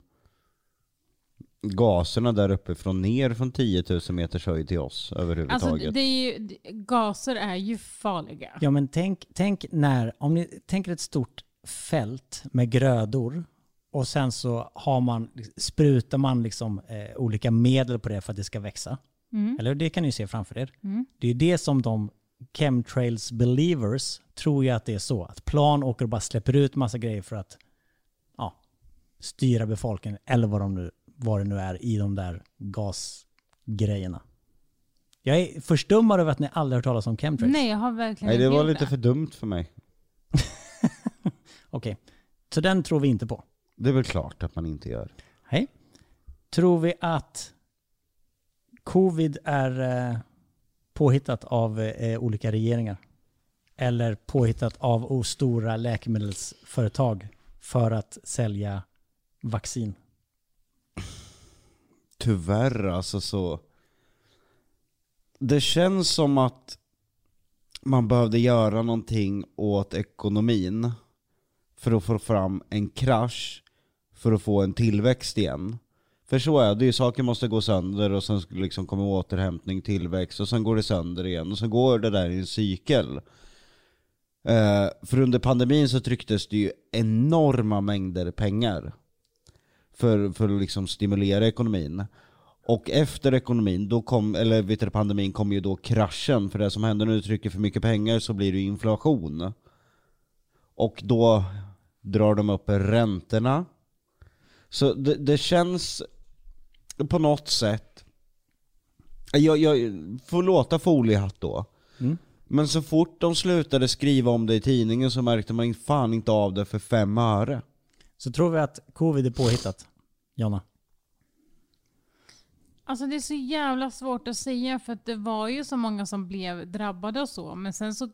Speaker 2: gaserna där uppe från ner från 10 000 meters höjd till oss överhuvudtaget.
Speaker 4: Alltså, det är ju, d- gaser är ju farliga.
Speaker 3: Ja, men tänk, tänk när, om ni tänker ett stort fält med grödor och sen så har man, sprutar man liksom eh, olika medel på det för att det ska växa. Eller det kan ni ju se framför er. Det är ju det som de chemtrails believers tror ju att det är så. Att plan åker och bara släpper ut massa grejer för att ja, styra befolkningen eller vad, de nu, vad det nu är i de där gasgrejerna. Jag är förstummad över att ni aldrig har hört talas om chemtrails.
Speaker 4: Nej, jag har verkligen
Speaker 2: Nej det
Speaker 4: inte
Speaker 2: var
Speaker 4: gjort
Speaker 2: lite för dumt för mig.
Speaker 3: Okej, så den tror vi inte på.
Speaker 2: Det är väl klart att man inte gör.
Speaker 3: Hej. Tror vi att covid är eh, påhittat av eh, olika regeringar? Eller påhittat av o- stora läkemedelsföretag för att sälja vaccin?
Speaker 2: Tyvärr alltså så. Det känns som att man behövde göra någonting åt ekonomin för att få fram en krasch för att få en tillväxt igen. För så är det ju, saker måste gå sönder och sen skulle liksom komma återhämtning, tillväxt och sen går det sönder igen och sen går det där i en cykel. Eh, för under pandemin så trycktes det ju enorma mängder pengar för, för att liksom stimulera ekonomin. Och efter ekonomin, då kom, eller vet du, pandemin kom ju då kraschen. För det som händer när du trycker för mycket pengar så blir det ju inflation. Och då drar de upp räntorna. Så det, det känns på något sätt... Jag, jag får låta foliehatt då. Men så fort de slutade skriva om det i tidningen så märkte man fan inte av det för fem öre.
Speaker 3: Så tror vi att covid är påhittat, Jonna?
Speaker 4: Alltså det är så jävla svårt att säga för att det var ju så många som blev drabbade och så. Men sen så...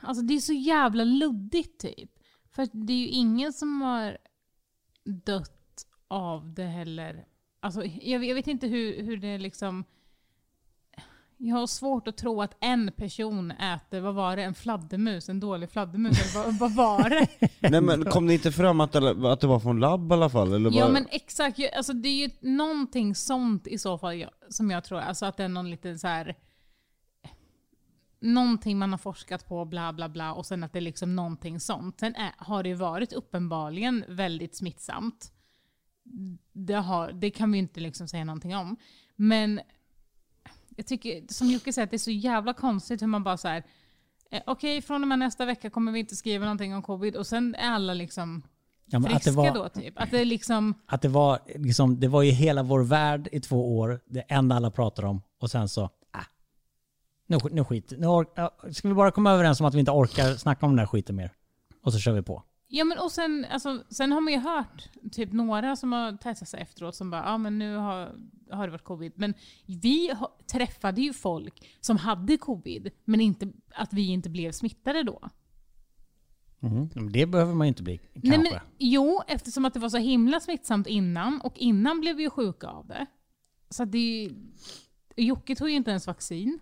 Speaker 4: Alltså det är så jävla luddigt typ. För att det är ju ingen som har dött av det heller. Alltså jag, jag vet inte hur, hur det liksom... Jag har svårt att tro att en person äter, vad var det, en fladdermus? En dålig fladdermus? Eller vad, vad var det?
Speaker 2: Nej men kom det inte fram att, det- att det var från labb i alla fall? Eller
Speaker 4: Ja
Speaker 2: bara-
Speaker 4: men exakt, Ju- alltså, det är ju någonting sånt i så fall jag, som jag tror, alltså att det är någon liten så här någonting man har forskat på, bla bla bla, och sen att det är liksom någonting sånt. Sen är, har det ju varit uppenbarligen väldigt smittsamt. Det, har, det kan vi ju inte liksom säga någonting om. Men jag tycker, som Jocke säger, att det är så jävla konstigt hur man bara så här. Eh, Okej, från och med nästa vecka kommer vi inte skriva någonting om covid och sen är alla liksom
Speaker 3: Ja, men
Speaker 4: friska
Speaker 3: att det var,
Speaker 4: då typ. Att det är liksom,
Speaker 3: Att det var, liksom, det var ju hela vår värld i två år, det enda alla pratar om. Och sen så, äh, nu, sk- nu skit. Nu or- ja, ska vi bara komma överens om att vi inte orkar snacka om den här skiten mer? Och så kör vi på.
Speaker 4: ja men och sen, alltså, sen har man ju hört typ några som har testat sig efteråt som bara, ja ah, men nu har, har det varit covid. Men vi ha, träffade ju folk som hade covid, men inte, att vi inte blev smittade då.
Speaker 2: Mm-hmm.
Speaker 3: Men Det behöver man ju inte bli, kanske.
Speaker 4: Nej, men, jo, eftersom att det var så himla smittsamt innan, och innan blev vi ju sjuka av det. Så att det är ju- Jocke tog ju inte ens vaccin.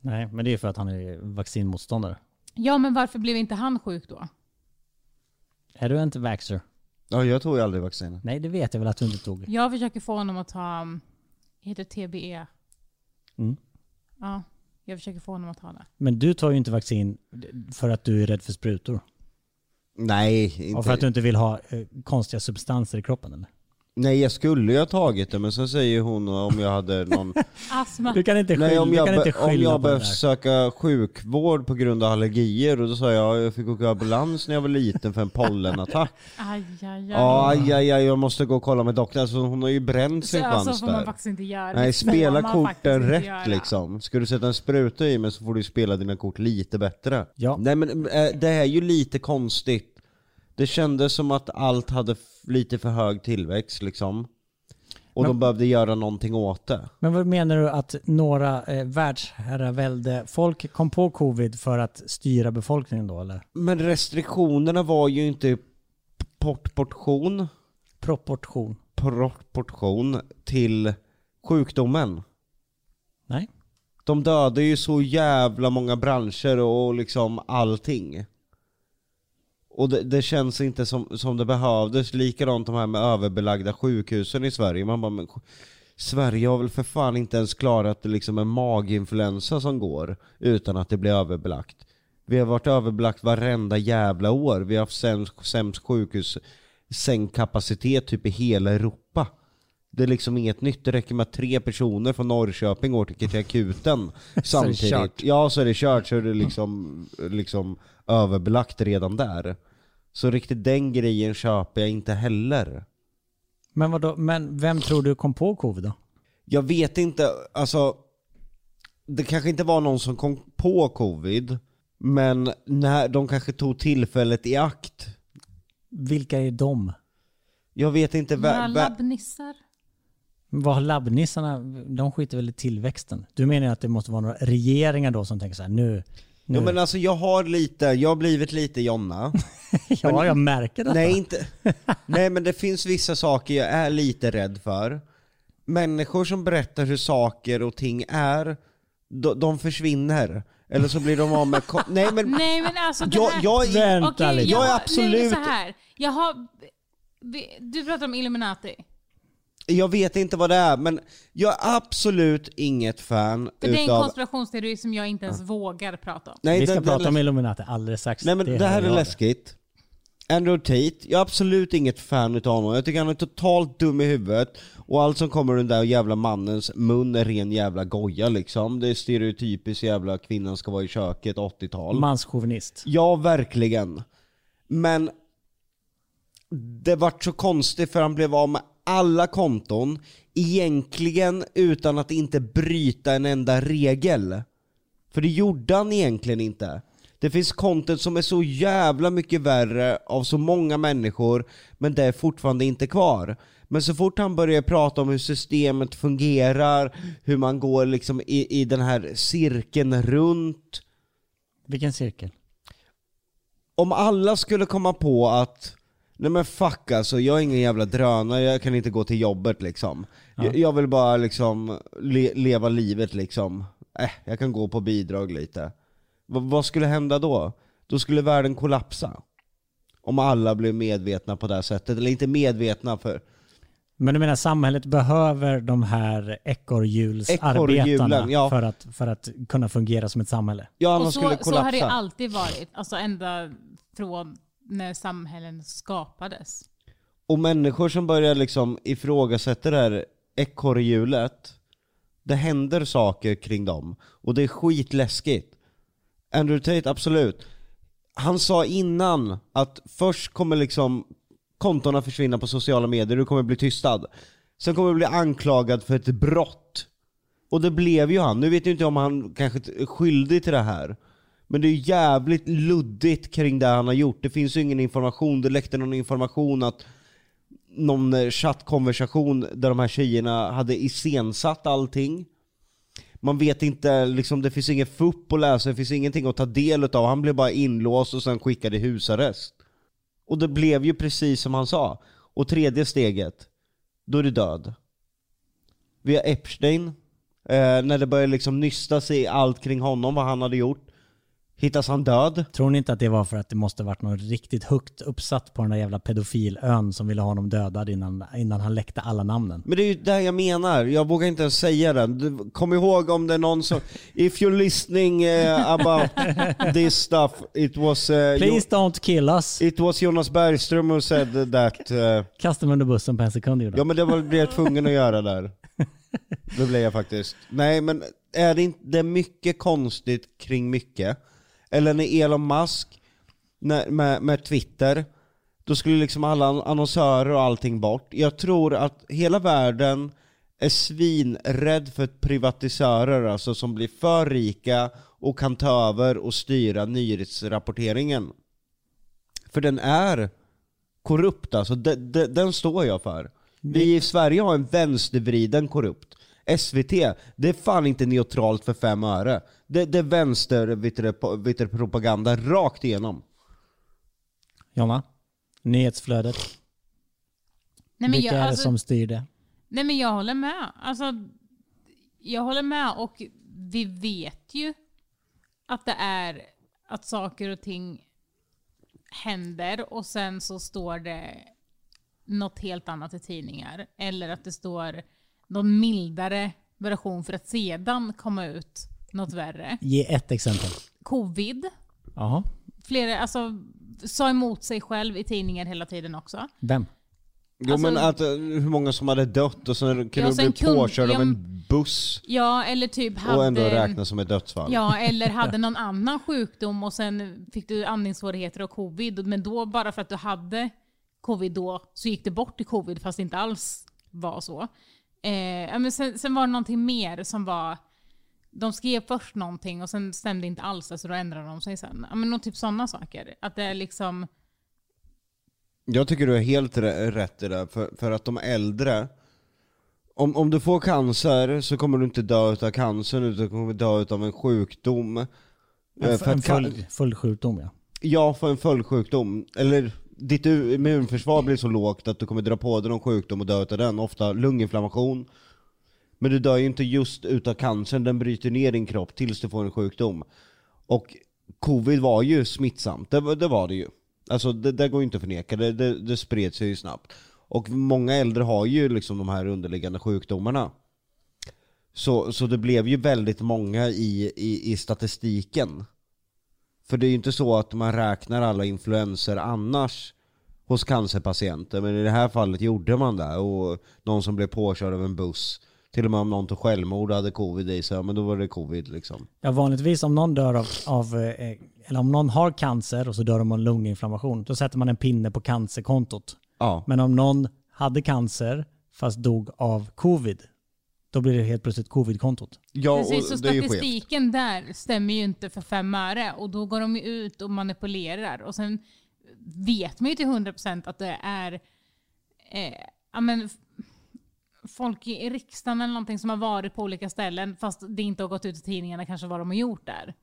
Speaker 3: Nej, men det är ju för att han är vaccinmotståndare.
Speaker 4: Ja, men varför blev inte han sjuk då?
Speaker 3: Är du inte vaxxer?
Speaker 2: Ja jag tog ju aldrig vaccinet.
Speaker 3: Nej, det vet jag väl att du inte tog.
Speaker 4: Jag försöker få honom att ta, um, heter det TBE?
Speaker 3: Mm.
Speaker 4: Ja, jag försöker få honom att ta det.
Speaker 3: Men du tar ju inte vaccin för att du är rädd för sprutor.
Speaker 2: Nej,
Speaker 3: Och
Speaker 2: inte.
Speaker 3: för att du inte vill ha eh, konstiga substanser i kroppen eller?
Speaker 2: Nej jag skulle ju ha tagit det men sen säger hon om jag hade någon...
Speaker 4: Astma.
Speaker 3: Du kan inte skylla,
Speaker 2: Nej om jag,
Speaker 3: du kan
Speaker 2: be-
Speaker 3: inte
Speaker 2: om
Speaker 3: skylla
Speaker 2: jag
Speaker 3: på det
Speaker 2: behövt
Speaker 3: där.
Speaker 2: söka sjukvård på grund av allergier och då sa jag jag fick åka ambulans när jag var liten för en pollenattack.
Speaker 4: Aj, aj, aj.
Speaker 2: Ja aj, aj, aj, jag måste gå och kolla med doktorn. Alltså, hon har ju bränt sin
Speaker 4: så, alltså
Speaker 2: chans
Speaker 4: får man
Speaker 2: där.
Speaker 4: faktiskt inte göra.
Speaker 2: Nej
Speaker 4: Det
Speaker 2: spela
Speaker 4: får man
Speaker 2: korten
Speaker 4: faktiskt inte
Speaker 2: rätt
Speaker 4: göra.
Speaker 2: liksom. Ska du sätta en spruta i mig så får du spela dina kort lite bättre.
Speaker 3: Ja.
Speaker 2: Nej men eh, det är ju lite konstigt. Det kändes som att allt hade f- lite för hög tillväxt liksom. Och de behövde göra någonting åt det.
Speaker 3: Men vad menar du att några eh, världsherravälde folk kom på covid för att styra befolkningen då eller?
Speaker 2: Men restriktionerna var ju inte proportion,
Speaker 3: Proportion?
Speaker 2: proportion till sjukdomen.
Speaker 3: Nej.
Speaker 2: De dödar ju så jävla många branscher och liksom allting. Och det, det känns inte som, som det behövdes. Likadant de här med överbelagda sjukhusen i Sverige. Man bara, men, sj- Sverige har väl för fan inte ens klarat liksom en maginfluensa som går utan att det blir överbelagt. Vi har varit överbelagt varenda jävla år. Vi har haft sämst, sämst sjukhus, sängkapacitet typ i hela Europa. Det är liksom inget nytt. Det räcker med att tre personer från Norrköping åker till akuten
Speaker 3: kört.
Speaker 2: samtidigt. Ja, så är det kört. Så är det liksom, liksom överbelagt redan där. Så riktigt den grejen köper jag inte heller.
Speaker 3: Men, vadå, men vem tror du kom på covid då?
Speaker 2: Jag vet inte, alltså det kanske inte var någon som kom på covid, men när de kanske tog tillfället i akt.
Speaker 3: Vilka är de?
Speaker 2: Jag vet inte
Speaker 4: Några
Speaker 2: vä- vä-
Speaker 4: labbnissar.
Speaker 3: Vad har labbnissarna, de skiter väl i tillväxten? Du menar ju att det måste vara några regeringar då som tänker så här, nu, nu.
Speaker 2: Ja, men alltså jag har lite, jag har blivit lite Jonna.
Speaker 3: ja jag märker det.
Speaker 2: Nej, inte. Nej men det finns vissa saker jag är lite rädd för. Människor som berättar hur saker och ting är, de, de försvinner. Eller så blir de av med... ko- Nej men
Speaker 4: Nej men alltså det
Speaker 2: jag,
Speaker 4: här...
Speaker 2: jag, är-
Speaker 3: Vänta
Speaker 4: Okej,
Speaker 3: lite.
Speaker 2: jag är
Speaker 4: har- Nu är
Speaker 2: absolut-
Speaker 4: det så här. Jag har... vi- Du pratar om Illuminati.
Speaker 2: jag vet inte vad det är men jag är absolut inget fan
Speaker 4: För det är en
Speaker 2: utav...
Speaker 4: konspirationsteori som jag inte ens vågar prata om.
Speaker 2: Nej,
Speaker 3: Vi ska
Speaker 2: den- den
Speaker 3: prata om
Speaker 2: läs-
Speaker 3: Illuminati alldeles strax.
Speaker 2: Nej men det, här är
Speaker 3: jag.
Speaker 2: läskigt. Andrew Tate, jag är absolut inget fan utav honom. Jag tycker han är totalt dum i huvudet och allt som kommer ur den där jävla mannens mun är ren jävla goja liksom. Det är stereotypiskt jävla kvinnan ska vara i köket 80-tal.
Speaker 3: Manschauvinist.
Speaker 2: Ja, verkligen. Men det vart så konstigt för han blev av med alla konton, egentligen utan att inte bryta en enda regel. För det gjorde han egentligen inte. Det finns content som är så jävla mycket värre av så många människor, men det är fortfarande inte kvar. Men så fort han börjar prata om hur systemet fungerar, hur man går liksom i, i den här cirkeln runt,
Speaker 3: Vilken cirkel?
Speaker 2: om alla skulle komma på att Nej men fuck alltså, jag är ingen jävla drönare, jag kan inte gå till jobbet liksom. Jag, jag vill bara liksom le, leva livet liksom. Äh, jag kan gå på bidrag lite. Va- vad skulle hända då? Då skulle världen kollapsa. Om alla blev medvetna på det här sättet, eller inte medvetna för
Speaker 3: Men du menar samhället behöver de här ekorrhjulsarbetarna
Speaker 2: Ekorrhjulen, ja.
Speaker 3: för, att, för att kunna fungera som ett samhälle?
Speaker 2: Ja man
Speaker 4: Och
Speaker 2: skulle
Speaker 4: så,
Speaker 2: kollapsa.
Speaker 4: så har det alltid varit. Alltså ända från när samhällen skapades.
Speaker 2: Och människor som börjar liksom ifrågasätta det här ekorrhjulet, det händer saker kring dem. Och det är skitläskigt. Andrew Tate, absolut. Han sa innan att först kommer liksom kontona försvinna på sociala medier, du kommer bli tystad. Sen kommer du bli anklagad för ett brott. Och det blev ju han. Nu vet jag inte om han kanske är skyldig till det här. Men det är ju jävligt luddigt kring det han har gjort. Det finns ju ingen information. Det läckte någon information att någon eh, chattkonversation där de här tjejerna hade iscensatt allting. Man vet inte, liksom, det finns ingen fupp att läsa, det finns ingenting att ta del av. Han blev bara inlåst och sen skickad i husarrest. Och det blev ju precis som han sa. Och tredje steget, då är du död. Vi har Epstein, eh, när det började liksom nysta sig i allt kring honom, vad han hade gjort. Hittas han död?
Speaker 3: Tror ni inte att det var för att det måste varit någon riktigt högt uppsatt på den där jävla pedofilön som ville ha honom dödad innan, innan han läckte alla namnen?
Speaker 2: Men det är ju det jag menar, jag vågar inte ens säga den. Du- Kom ihåg om det är någon som... If you're listening eh, about this stuff, it was, eh,
Speaker 3: Please don't kill us.
Speaker 2: Jo- it was Jonas Bergström who said that. eh.
Speaker 3: Kasta mig under bussen på en sekund gjorde
Speaker 2: ja
Speaker 3: han.
Speaker 2: men det var, blev jag tvungen att göra där. Det blev jag faktiskt. Nej men är det inte det är mycket konstigt kring mycket? Eller när Elon Musk, när, med, med Twitter, då skulle liksom alla an- annonsörer och allting bort. Jag tror att hela världen är svinrädd för privatisörer alltså som blir för rika och kan ta över och styra nyhetsrapporteringen. För den är korrupt alltså, de, de, den står jag för. Vi i Sverige har en vänstervriden korrupt. SVT, det är fan inte neutralt för fem öre. Det, det är vänster vet du, po- vet du, propaganda rakt igenom.
Speaker 3: Jonna, nyhetsflödet.
Speaker 4: Nej, men
Speaker 3: Vilka
Speaker 4: jag,
Speaker 3: är det
Speaker 4: alltså,
Speaker 3: som styr det?
Speaker 4: nej men jag håller med. Alltså, jag håller med och vi vet ju att det är att saker och ting händer och sen så står det något helt annat i tidningar. Eller att det står någon mildare version för att sedan komma ut något värre.
Speaker 3: Ge ett exempel.
Speaker 4: Covid.
Speaker 3: Jaha.
Speaker 4: Flera, alltså, sa emot sig själv i tidningar hela tiden också.
Speaker 3: Vem?
Speaker 2: Jo
Speaker 4: Alltså-
Speaker 2: men att, eh, hur många som hade dött och sen kunde
Speaker 4: Ja,
Speaker 2: de
Speaker 4: sen
Speaker 2: bli
Speaker 4: kund-
Speaker 2: påkörda
Speaker 4: ja,
Speaker 2: av en buss
Speaker 4: Ja, eller typ hade...
Speaker 2: och ändå räknas som ett dödsfall.
Speaker 4: Ja, eller hade någon annan sjukdom och sen fick du andningssvårigheter och covid. Men då, bara för att du hade covid då, så gick det bort i covid fast det inte alls var så. Eh, ja, men sen, sen var det någonting mer som var... De skrev först någonting och sen stämde inte alls, alltså då ändrade de sig sen. Ja, men någon typ sådana saker. Att det är liksom...
Speaker 2: Jag tycker du är helt rä- rätt i det, för, för att de äldre, om, om du får cancer så kommer du inte dö utav cancern utan du kommer dö utav en sjukdom. Eh,
Speaker 3: En,
Speaker 2: för
Speaker 3: en
Speaker 2: att ca-
Speaker 3: följd, följdsjukdom ja.
Speaker 2: Ja, för en följdsjukdom. Eller ditt u- immunförsvar blir så lågt att du kommer dra på dig någon sjukdom och dö utav den, ofta lunginflammation. Men du dör ju inte just utav cancern, den bryter ner din kropp tills du får en sjukdom. Och covid var ju smittsamt, det, var- det var det ju. Alltså det, det går ju inte att förneka, det, det, det spred sig ju snabbt. Och många äldre har ju liksom de här underliggande sjukdomarna. Så, så det blev ju väldigt många i, i, i statistiken. För det är ju inte så att man räknar alla influenser annars hos cancerpatienter, men i det här fallet gjorde man det. Och någon som blev påkörd av en buss, till och med om någon tog självmord och hade covid i sig, ja, men då var det covid liksom.
Speaker 3: Ja, vanligtvis om någon dör av, av eh, eller om någon har cancer och så dör de av lunginflammation, då sätter man en pinne på cancerkontot.
Speaker 2: Ja.
Speaker 3: Men om någon hade cancer fast dog av covid, då blir det helt plötsligt covid-kontot.
Speaker 2: Ja,
Speaker 4: Precis, så
Speaker 2: och det är ju skevt.
Speaker 4: statistiken där stämmer ju inte för fem öre och då går de ju ut och manipulerar och sen vet man ju till 100% att det är eh, ja, men, f- folk i i riksdagen eller någonting som har varit på olika ställen fast det inte har gått ut i tidningarna kanske vad de har gjort där.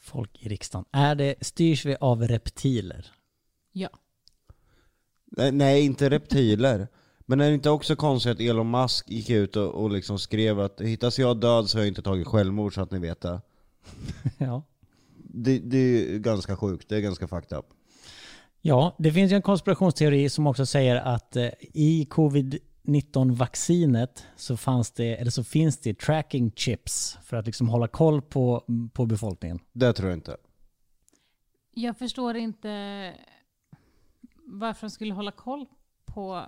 Speaker 3: Folk i riksdagen. Är det, styrs vi av reptiler?
Speaker 4: Ja.
Speaker 2: Nej, Nej, inte reptiler. Men är det inte också konstigt att Elon Musk gick ut och, och liksom skrev att hittas jag död så har jag inte tagit självmord så att ni vet det.
Speaker 3: ja.
Speaker 2: Det, det är ju ganska sjukt, det är ganska fucked up.
Speaker 3: Ja, det finns ju en konspirationsteori som också säger att eh, i covid-19-vaccinet så, fanns det, eller så finns det tracking chips för att liksom hålla koll på, på befolkningen.
Speaker 2: Det tror jag inte.
Speaker 4: Jag förstår inte varför de skulle hålla koll på...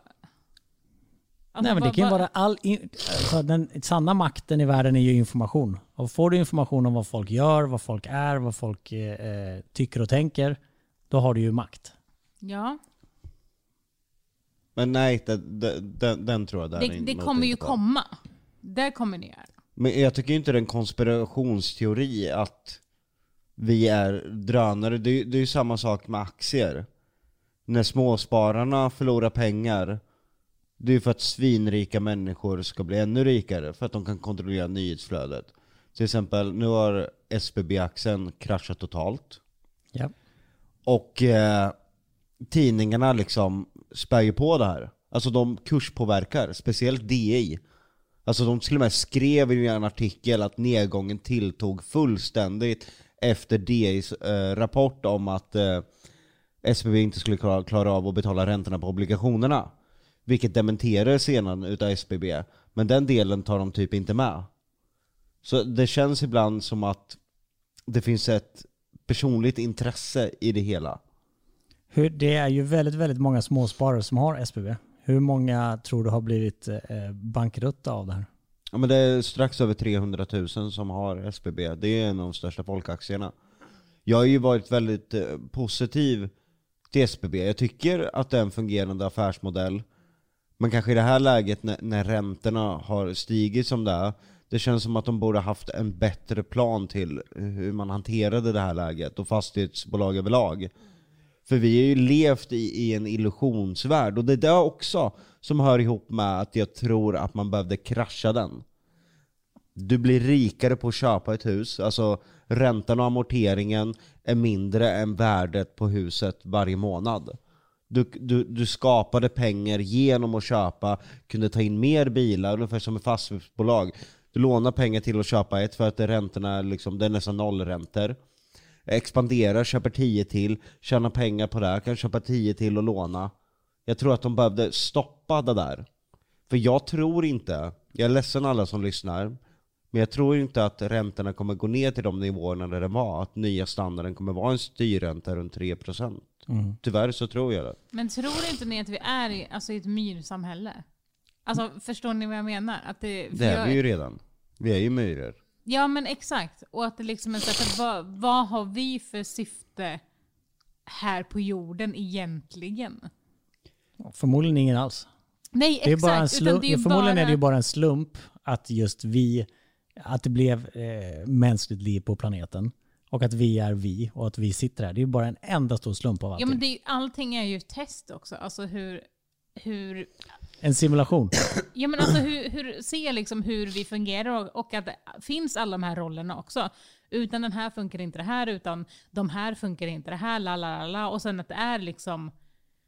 Speaker 3: Nej, men
Speaker 4: Alltså,
Speaker 3: det
Speaker 4: vad-
Speaker 3: kan ju
Speaker 4: vad-
Speaker 3: vara all... In, alltså den sanna makten i världen är ju information. Och får du information om vad folk gör, vad folk är, vad folk eh, eh, tycker och tänker, då har du ju makt.
Speaker 4: Ja.
Speaker 2: Men nej, det, det, den, den tror jag
Speaker 4: Det,
Speaker 2: däremot
Speaker 4: det kommer ju
Speaker 2: inte.
Speaker 4: komma. Det kommer det göra.
Speaker 2: Men jag tycker inte det är en konspirationsteori att vi är drönare. Det, är- det är ju samma sak med aktier. När småspararna förlorar pengar, det är ju för att svinrika människor ska bli ännu rikare, för att de kan kontrollera nyhetsflödet. Till exempel, nu har SBB-aktien kraschat totalt.
Speaker 3: Ja.
Speaker 2: Och eh, tidningarna liksom spär ju på det här. Alltså de kurspåverkar, speciellt DI. Alltså de till och med skrev i en artikel att nedgången tilltog fullständigt efter DIs eh, rapport om att eh, SBB inte skulle klara, klara av att betala räntorna på obligationerna. Vilket dementerades sedan utav SBB. Men den delen tar de typ inte med. Så det känns ibland som att det finns ett personligt intresse i det hela.
Speaker 3: Hur, det är ju väldigt, väldigt många småsparare som har SBB. Hur många tror du har blivit eh, bankrutta av det här?
Speaker 2: Ja, men det är strax över 300 000 som har SBB. Det är en av de största folkaktierna. Jag har ju varit väldigt eh, positiv till SBB. Jag tycker att det är en fungerande affärsmodell. Men kanske i det här läget när, när räntorna har stigit som det är, det känns som att de borde haft en bättre plan till hur man hanterade det här läget och fastighetsbolag överlag. För vi har ju levt i, i en illusionsvärld och det är det också som hör ihop med att jag tror att man behövde krascha den. Du blir rikare på att köpa ett hus, alltså räntan och amorteringen är mindre än värdet på huset varje månad. Du, du, du skapade pengar genom att köpa, kunde ta in mer bilar, ungefär som ett fastighetsbolag. Du lånar pengar till att köpa ett för att det är räntorna är liksom, det är nästan nollräntor. Expanderar, köper 10 till, tjänar pengar på det, kan köpa 10 till och låna. Jag tror att de behövde stoppa det där. För jag tror inte, jag är ledsen alla som lyssnar, men jag tror inte att räntorna kommer gå ner till de nivåerna där det var. Att nya standarden kommer vara en styrränta runt 3%. Tyvärr så tror jag det.
Speaker 4: Men tror inte ni att vi är i, alltså, i ett myrsamhälle? Alltså förstår ni vad jag menar? Att det, för
Speaker 2: Det är
Speaker 4: jag-
Speaker 2: vi ju redan. Vi är ju myror.
Speaker 4: Ja men exakt. Och att det liksom är så att vad, vad har vi för syfte här på jorden egentligen?
Speaker 3: Förmodligen ingen alls.
Speaker 4: Nej
Speaker 3: Det är
Speaker 4: exakt.
Speaker 3: bara en
Speaker 4: utan
Speaker 3: slump,
Speaker 4: det är ju
Speaker 3: förmodligen
Speaker 4: bara,
Speaker 3: är det ju bara en slump att just vi, att det blev eh, mänskligt liv på planeten. Och att vi är vi och att vi sitter här. Det är ju bara en enda stor slump av
Speaker 4: Ja,
Speaker 3: allting.
Speaker 4: men det är, ju- allting är ju ett test också. Alltså hur, hur,
Speaker 3: En simulation.
Speaker 4: ja, men alltså hur, hur se liksom hur vi fungerar och, och att det finns alla de här rollerna också. Utan den här funkar inte det här, utan de här funkar inte det här, la la la la. Och sen att det är liksom,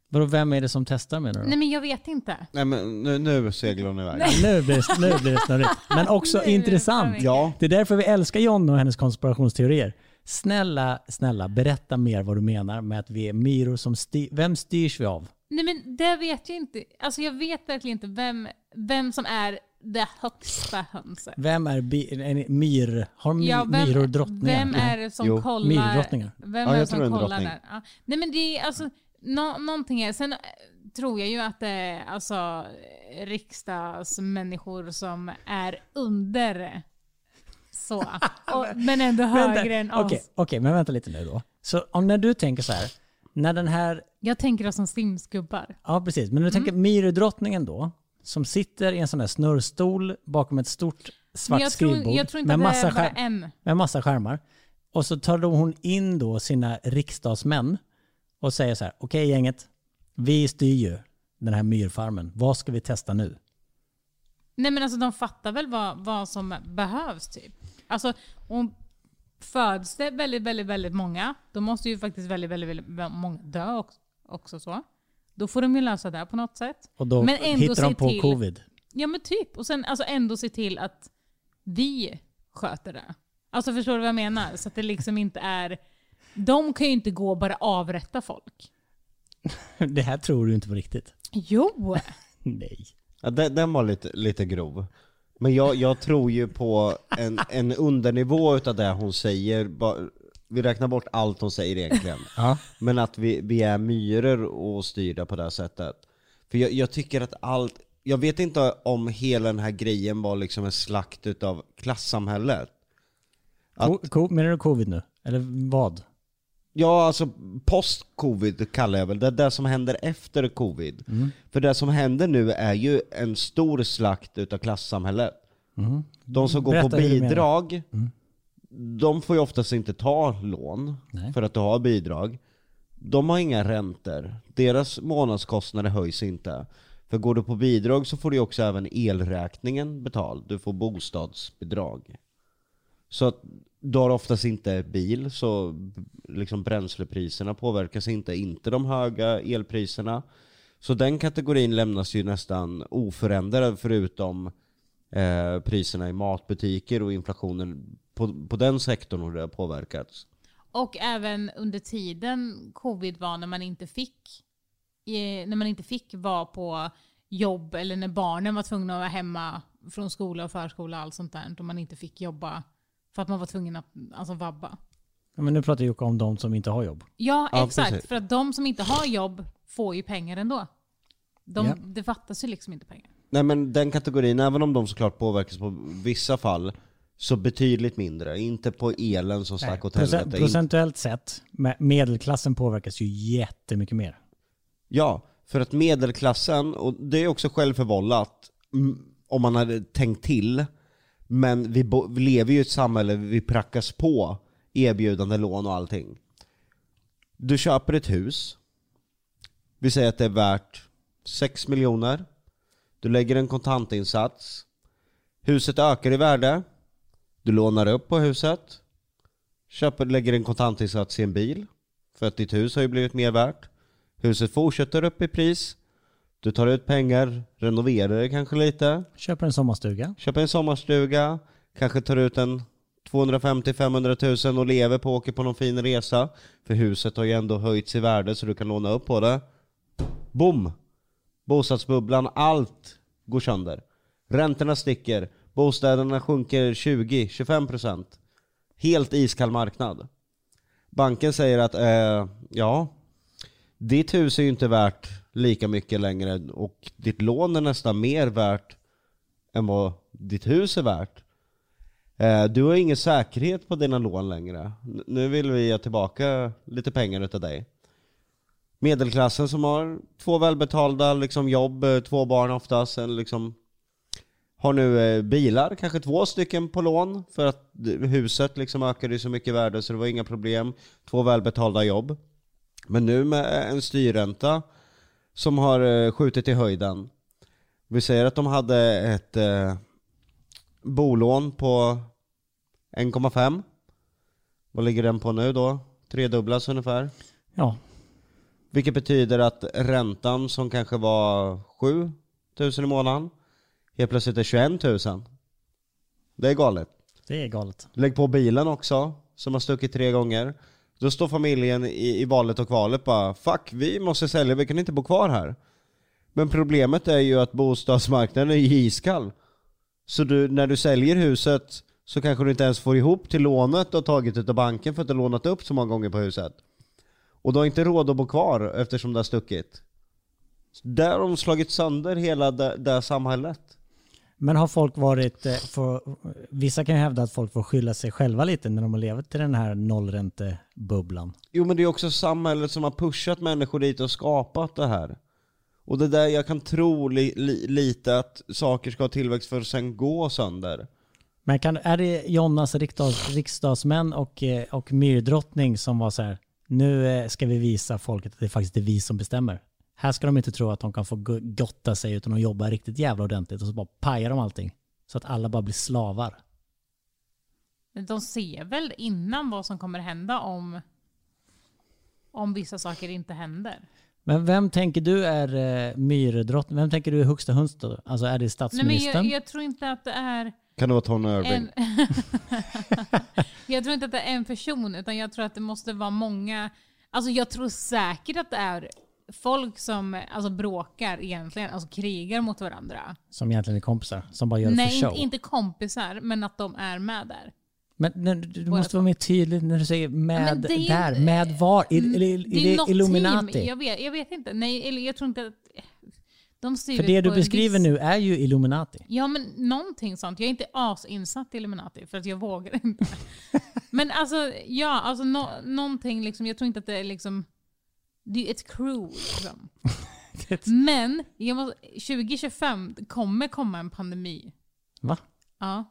Speaker 3: Vadå, vem är det som testar menar du?
Speaker 4: nej men jag vet inte.
Speaker 2: Nej men nu, nu seglar hon iväg.
Speaker 3: Nu blir det, nu blir det snurrigt. Men också
Speaker 4: Nu är det
Speaker 3: intressant.
Speaker 4: snurrigt.
Speaker 2: Ja,
Speaker 3: Det är därför vi älskar John och hennes konspirationsteorier. Snälla, snälla, berätta mer vad du menar med att vi är myror som styr. Vem styrs vi av?
Speaker 4: Nej men det vet jag inte. Alltså jag vet verkligen inte vem, vem som är det högsta hönset.
Speaker 3: Vem är bi- en myr? Har my-
Speaker 4: Ja, vem,
Speaker 3: myror drottningar?
Speaker 4: Vem är det som
Speaker 2: Jo.
Speaker 4: kollar?
Speaker 3: Myrdrottningar.
Speaker 4: Vem
Speaker 2: Ja,
Speaker 4: är det
Speaker 2: jag
Speaker 4: som
Speaker 2: tror en
Speaker 4: kollar
Speaker 2: drottning.
Speaker 4: där? Ja. Nej men det är alltså, nå- någonting är, sen eh, tror jag ju att det är alltså eh, riksdagsmänniskor som är under så, och, men ändå
Speaker 3: Vänta,
Speaker 4: högre än oss.
Speaker 3: Okej, okej, men vänta lite nu då. Så om när du tänker så här, när den här,
Speaker 4: Jag tänker oss som simskubbar.
Speaker 3: ja precis, men när
Speaker 4: Mm.
Speaker 3: du tänker myrdrottningen då, som sitter i en sån där snurrstol bakom ett stort
Speaker 4: Men
Speaker 3: svart
Speaker 4: jag
Speaker 3: skrivbord
Speaker 4: tror, jag tror inte
Speaker 3: med,
Speaker 4: att det
Speaker 3: massa
Speaker 4: är
Speaker 3: skär,
Speaker 4: bara en.
Speaker 3: med massa skärmar. Och så tar då hon in då sina riksdagsmän och säger så här, okej gänget, vi styr ju den här myrfarmen. Vad ska vi testa nu?
Speaker 4: Nej men alltså de fattar väl vad, vad som behövs typ. Alltså hon föds det väldigt, väldigt, väldigt många. Då måste ju faktiskt väldigt, väldigt, väldigt många dö också, också så. Då får de ju lösa det på något sätt.
Speaker 3: Och då
Speaker 4: Men ändå
Speaker 3: hittar de
Speaker 4: se
Speaker 3: på
Speaker 4: till-
Speaker 3: covid.
Speaker 4: Ja men typ. Och sen alltså ändå se till att vi sköter det. Alltså förstår du vad jag menar? Så att det liksom inte är... De kan ju inte gå och bara avrätta folk.
Speaker 3: Det här tror du inte på riktigt.
Speaker 4: Jo!
Speaker 3: Nej.
Speaker 2: ja den, den var lite, lite grov. Men jag, jag tror ju på en, en undernivå utav det hon säger. Ba- Vi räknar bort allt hon säger egentligen.
Speaker 3: Ja.
Speaker 2: Men att vi, vi är myror och styrda på det här sättet. För jag, jag tycker att allt, jag vet inte om hela den här grejen var liksom en slakt utav klassamhället. Att-
Speaker 3: Ko- ko- menar du covid nu? Eller vad?
Speaker 2: Ja, alltså post-covid kallar jag väl det. Det som händer efter covid.
Speaker 3: Mm.
Speaker 2: För det som händer nu är ju en stor slakt utav klassamhället. De som går på
Speaker 3: Mm. Berätta hur du menar. Mm.
Speaker 2: bidrag, de får ju oftast inte ta lån
Speaker 3: Nej.
Speaker 2: för att du har bidrag. De har inga räntor. Deras månadskostnader höjs inte. För går du på bidrag så får du ju också även elräkningen betald. Du får bostadsbidrag. Så att du har oftast inte bil, så b- liksom bränslepriserna påverkas inte. Inte de höga elpriserna. Så den kategorin lämnas ju nästan oförändrad förutom eh, priserna i matbutiker och inflationen på, på den sektorn har det påverkats.
Speaker 4: Och även under tiden covid var när man inte fick, eh, när man inte fick vara på jobb eller när barnen var tvungna att vara hemma från skola och förskola och allt sånt där. Och man inte fick jobba för att man var tvungen att alltså, vabba.
Speaker 3: Ja, Men nu pratar Jocke om de som inte har jobb.
Speaker 4: Ja,
Speaker 2: Ja,
Speaker 4: exakt.
Speaker 2: precis.
Speaker 4: För att de som inte har jobb får ju pengar ändå. De,
Speaker 3: Ja.
Speaker 4: Det fattas ju liksom inte pengar.
Speaker 2: Nej men den kategorin, även om de såklart påverkas på vissa fall, så betydligt mindre. Inte på elen som stack åt helvete.
Speaker 3: Procent,
Speaker 2: Inte-
Speaker 3: procentuellt sett, med- medelklassen påverkas ju jättemycket mer.
Speaker 2: Ja, för att medelklassen, och det är också självförvållat, mm, om man hade tänkt till, men vi, bo- vi lever ju i ett samhälle där vi prackas på erbjudande lån och allting. Du köper ett hus, vi säger att det är värt 6 miljoner, du lägger en kontantinsats, huset ökar i värde, du lånar upp på huset, köper, lägger en kontantinsats i en bil, för att ditt hus har ju blivit mer värt. Huset fortsätter upp i pris. Du tar ut pengar, renoverar det kanske lite,
Speaker 3: Köper en sommarstuga.
Speaker 2: köper en sommarstuga, kanske tar ut en 250-500 000 och lever på, åker på någon fin resa. För huset har ju ändå höjts i värde så du kan låna upp på det. Boom! Bostadsbubblan, allt går sönder. Räntorna sticker, bostäderna sjunker 20-25%. Helt iskall marknad. Banken säger att eh, ja, ditt hus är ju inte värt lika mycket längre och ditt lån är nästan mer värt än vad ditt hus är värt. Eh, Du har ingen säkerhet på dina lån längre. N- Nu vill vi ha tillbaka lite pengar utav dig. Medelklassen som har två välbetalda liksom, jobb, eh, två barn oftast, en, liksom, har nu eh, bilar, kanske två stycken på lån för att eh, huset liksom ökade ju så mycket i värde så det var inga problem. Två välbetalda jobb. Men nu med eh, en styrränta som har eh, skjutit i höjden. Vi säger att de hade ett eh, bolån på 1,5. Vad ligger den på nu då? Tredubblas ungefär.
Speaker 3: Ja,
Speaker 2: Vilket betyder att räntan som kanske var 7 000 i månaden helt plötsligt är 21 000. Det är galet.
Speaker 3: det är galet.
Speaker 2: Lägg på bilen också, som har stuckit tre gånger. Då står familjen i, i valet och kvalet bara Fuck, vi måste sälja, vi kan inte bo kvar här. Men problemet är ju att bostadsmarknaden är ju iskall. Så du, när du säljer huset så kanske du inte ens får ihop till lånet du har tagit utav banken för att du har lånat upp så många gånger på huset. Och du har inte råd att bo kvar eftersom det har stuckit. Där har de slagit sönder hela det, det här samhället.
Speaker 3: Men har folk varit, eh, för, vissa kan ju hävda att folk får skylla sig själva lite när de har levt i den här nollräntebubblan.
Speaker 2: Jo men det är också samhället som har pushat människor dit och skapat det här. Och det är där jag kan tro li, li, lite att saker ska ha tillväxt för att sen gå sönder.
Speaker 3: Men kan, är det Jonas riksdags, riksdagsmän och, eh, och myrdrottning som var så här, nu eh, ska vi visa folket att det faktiskt är vi som bestämmer. Här ska de inte tro att de kan få go- gotta sig utan att jobba riktigt jävla ordentligt och så bara pajar de allting. Så att alla bara blir slavar.
Speaker 4: Men De ser väl innan vad som kommer hända om, om vissa saker inte händer.
Speaker 3: Men vem tänker du är eh, myrdrottning? Vem tänker du är högsta höns då? Alltså är det
Speaker 4: Nej, men
Speaker 3: statsministern?
Speaker 4: jag, jag tror inte att det är
Speaker 2: Kan det vara Tony Irving?
Speaker 4: en... jag tror inte att det är en person, utan jag tror att det måste vara många. Alltså jag tror säkert att det är folk som alltså, bråkar egentligen, alltså krigar mot varandra.
Speaker 3: Som egentligen är kompisar, som bara gör det för
Speaker 4: Nej,
Speaker 3: show.
Speaker 4: inte, inte kompisar, men att de är med där.
Speaker 3: Men nej, du du
Speaker 4: Båda
Speaker 3: måste vara mer tydlig när du säger med
Speaker 4: men det är ju- Mm,
Speaker 3: där, med var. Är, är, är,
Speaker 4: Det är
Speaker 3: det
Speaker 4: något
Speaker 3: Illuminati?
Speaker 4: team. Jag vet, jag vet inte. Nej, eller jag tror inte att... De styr
Speaker 3: För
Speaker 4: ju
Speaker 3: det
Speaker 4: på
Speaker 3: du
Speaker 4: en
Speaker 3: beskriver
Speaker 4: viss-
Speaker 3: nu är ju Illuminati.
Speaker 4: Ja, men någonting sånt. Jag är inte asinsatt i Illuminati för att jag vågar inte. men alltså, ja, alltså nå någonting liksom. Jag tror inte att det är liksom... Det är ju ett crew liksom. Men jag måste, 2025 kommer komma en pandemi.
Speaker 3: Va?
Speaker 4: Ja,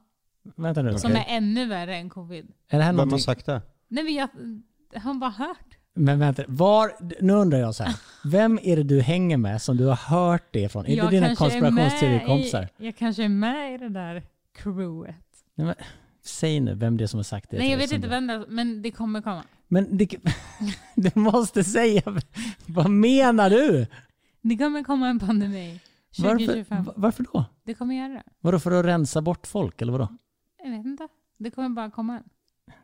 Speaker 3: Vänta nu.
Speaker 4: som är ännu värre än covid.
Speaker 3: Är det här
Speaker 2: Vem har
Speaker 3: någonting?
Speaker 2: sagt det?
Speaker 4: Nej, men jag har bara hört.
Speaker 3: Men vänta, var, nu undrar jag så här. Vem är det du hänger med som du har hört det ifrån? Är det
Speaker 4: jag
Speaker 3: dina
Speaker 4: kanske är med
Speaker 3: konspirationsteorikompisar?
Speaker 4: i- Jag kanske är med i det där crewet.
Speaker 3: Nej, men Säg nu vem det är som har sagt det.
Speaker 4: Nej,
Speaker 3: till
Speaker 4: jag
Speaker 3: dig
Speaker 4: vet
Speaker 3: som
Speaker 4: inte
Speaker 3: du-
Speaker 4: vem det är, men det kommer komma.
Speaker 3: Men det, du måste säga, vad menar du?
Speaker 4: Det kommer komma en pandemi.
Speaker 3: Varför,
Speaker 4: 2025.
Speaker 3: va- varför då?
Speaker 4: Det kommer göra det.
Speaker 3: Vadå för att rensa bort folk eller vadå?
Speaker 4: Jag vet inte. Det kommer bara komma en.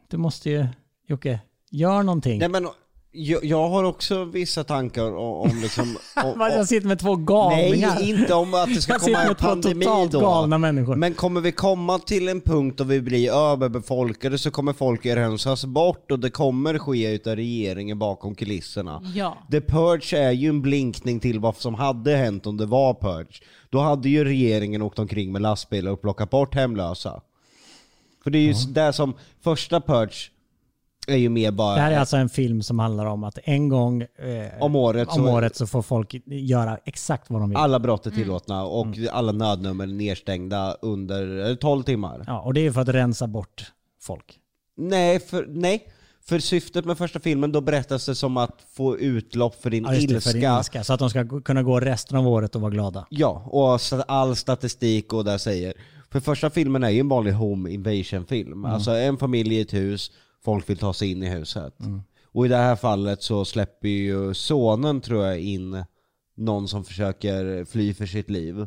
Speaker 3: Du måste ju, Jocke, gör någonting.
Speaker 2: Nej men jag, jag har också vissa tankar o- om liksom... om-
Speaker 3: Man,
Speaker 2: om-
Speaker 3: jag sitter med två
Speaker 2: nej,
Speaker 3: galningar.
Speaker 2: inte om att det ska
Speaker 3: Jag
Speaker 2: komma
Speaker 3: sitter
Speaker 2: en
Speaker 3: med två
Speaker 2: pandemi
Speaker 3: totalt
Speaker 2: då.
Speaker 3: galna människor.
Speaker 2: Men kommer vi komma till en punkt då vi blir överbefolkade så kommer folk rensas bort och det kommer ske utav regeringen bakom kulisserna.
Speaker 4: Ja.
Speaker 2: The Purge är ju en blinkning till vad som hade hänt om det var Purge. Då hade ju regeringen åkt omkring med lastbilar och plockat bort hemlösa. För det är ju där som första Purge är ju mer
Speaker 3: Det här
Speaker 2: bara
Speaker 3: är alltså en film som handlar om att en gång eh,
Speaker 2: om året
Speaker 3: om
Speaker 2: så
Speaker 3: året så får folk göra exakt vad de vill.
Speaker 2: alla brott är tillåtna och
Speaker 3: Mm.
Speaker 2: alla nödnummer är nedstängda under eh, 12 timmar.
Speaker 3: Ja, och det är ju för att rensa bort folk.
Speaker 2: Nej, för, nej. För syftet med första filmen, då berättas det som att få utlopp för din
Speaker 3: Ja, just det,
Speaker 2: ilska.
Speaker 3: för din ilska. Så att de ska gå- kunna gå resten av året och vara glada.
Speaker 2: Ja, och så- all statistik och där säger. För första filmen är ju en vanlig home invasion film. Alltså en familj i ett hus, folk vill ta sig in i huset. Och i det här fallet så släpper ju sonen tror jag in någon som försöker fly för sitt liv.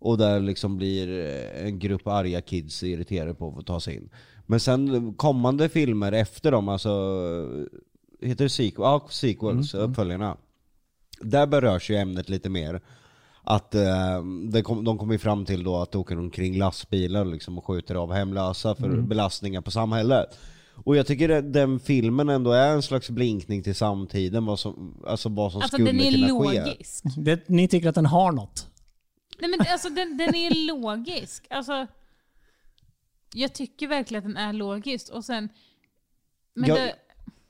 Speaker 2: Och där liksom blir en grupp arga kids irriterade på att ta sig in. Men sen kommande filmer efter dem, alltså heter det sequel? Ja, sequels, uppföljarna. Där berörs ju ämnet lite mer. Att eh, det kom, de kommer ju fram till då att åker omkring lastbilar liksom och skjuter av hemlösa för belastningar på samhället. Och jag tycker att den filmen ändå är en slags blinkning till samtiden, vad som, alltså vad som
Speaker 4: Alltså
Speaker 2: skulle
Speaker 4: den är
Speaker 2: kunna ske.
Speaker 4: logisk.
Speaker 3: Det, ni tycker att den har något?
Speaker 4: Nej men alltså den, den är logisk. Alltså, jag tycker verkligen att den är logisk. Och sen, men
Speaker 2: Jag-
Speaker 4: det,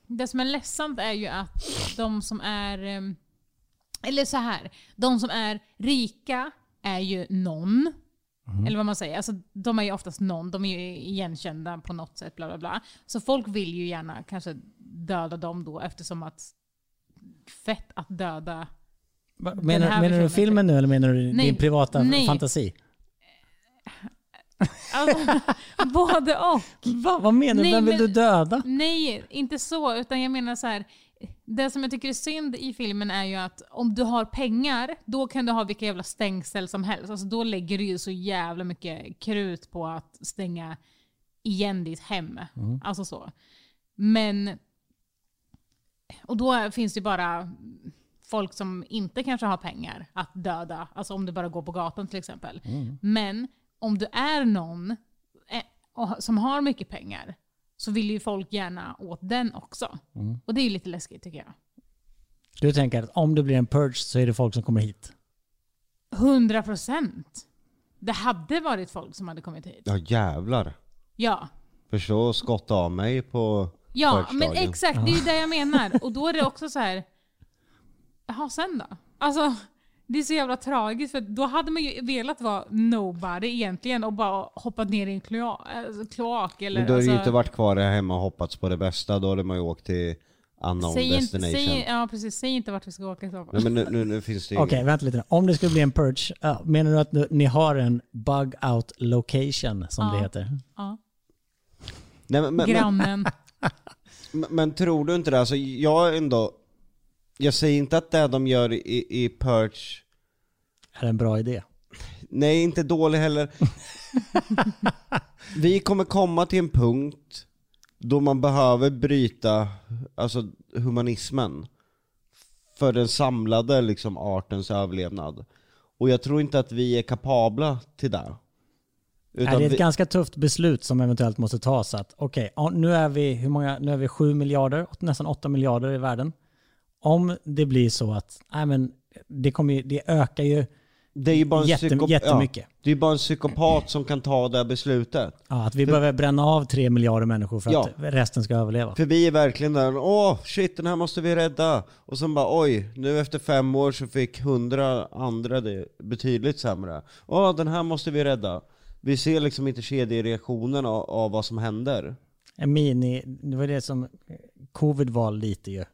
Speaker 4: det som är ledsamt är ju att de som är, em, eller så här, de som är rika är ju någon. Eller vad man säger. Alltså, de är ju oftast någon, de är ju igenkända på något sätt. Bla bla bla. Så folk vill ju gärna kanske döda dem då eftersom att fett att döda
Speaker 3: Va-
Speaker 4: Den här
Speaker 3: Menar, menar du
Speaker 4: versionen,
Speaker 3: filmen nu eller menar du
Speaker 4: Nej,
Speaker 3: din privata
Speaker 4: nej.
Speaker 3: fantasi?
Speaker 4: Alltså, både och.
Speaker 3: Va, vad menar du?
Speaker 4: Nej,
Speaker 3: Vem vill
Speaker 4: men-
Speaker 3: du döda?
Speaker 4: Nej, inte så. Utan jag menar så här. Det som jag tycker är synd i filmen är ju att om du har pengar, då kan du ha vilka jävla stängsel som helst. Alltså då lägger du ju så jävla mycket krut på att stänga igen ditt hem. Alltså så. Men... Och då finns det ju bara folk som inte kanske har pengar att döda. Alltså om du bara går på gatan till exempel. Men om du är någon eh, och- som har mycket pengar så vill ju folk gärna åt den också.
Speaker 2: Mm.
Speaker 4: Och det är ju lite läskigt tycker jag.
Speaker 3: Du tänker att om det blir en purge så är det folk som kommer hit.
Speaker 4: 100 procent! Det hade varit folk som hade kommit hit.
Speaker 2: Ja jävlar.
Speaker 4: Ja.
Speaker 2: Förstå att skotta av mig på
Speaker 4: Ja,
Speaker 2: första
Speaker 4: men
Speaker 2: dagen.
Speaker 4: exakt. Det är ju det jag menar. Och då är det också så här. Jaha, sen då? Alltså, det är så jävla tragiskt för då hade man ju velat vara nobody egentligen och bara hoppat ner i en kloa- alltså, kloak. Eller,
Speaker 2: Men då har
Speaker 4: alltså,
Speaker 2: du ju inte varit kvar här hemma och hoppats på det bästa, då hade man ju åkt till unknown
Speaker 4: säg inte,
Speaker 2: destination.
Speaker 4: säg, ja, precis, säg inte vart vi ska åka i så fall.
Speaker 2: Nej men nu, nu, nu finns det ju
Speaker 3: Okej, vänta lite nu. Om det skulle bli en purge, ja, menar du att nu- ni har en bug out location som det heter?
Speaker 4: Ja.
Speaker 2: Nej, men, men, men,
Speaker 4: Grannen.
Speaker 2: men, men tror du inte det? Alltså jag ändå, jag säger inte att det de gör i, i Perch,
Speaker 3: Är en bra idé?
Speaker 2: nej inte dålig heller. Vi kommer komma till en punkt då man behöver bryta alltså, humanismen för den samlade liksom, artens överlevnad. Och jag tror inte att vi är kapabla till det.
Speaker 3: Nej, det är ett
Speaker 2: vi-
Speaker 3: ganska tufft beslut som eventuellt måste tas. Att, okej, ja, nu, är vi, hur många, nu är vi 7 miljarder, åt- nästan 8 miljarder i världen. Om det blir så att nej, men det, kommer, ju- det ökar ju,
Speaker 2: Det är ju bara en
Speaker 3: Jätte-
Speaker 2: psyko-
Speaker 3: jättemycket.
Speaker 2: Ja, det är ju bara en psykopat som kan ta det här beslutet.
Speaker 3: ja, att vi behöver bränna av 3 miljarder människor för
Speaker 2: Ja.
Speaker 3: att resten ska överleva.
Speaker 2: För vi är verkligen där, åh shit den här måste vi rädda. Och sen bara oj, nu efter fem år så fick hundra andra det betydligt sämre. Åh den här måste vi rädda. Vi ser liksom inte kedjereaktionen av, av vad som händer.
Speaker 3: En mini, det var det som eh, covid var lite ju.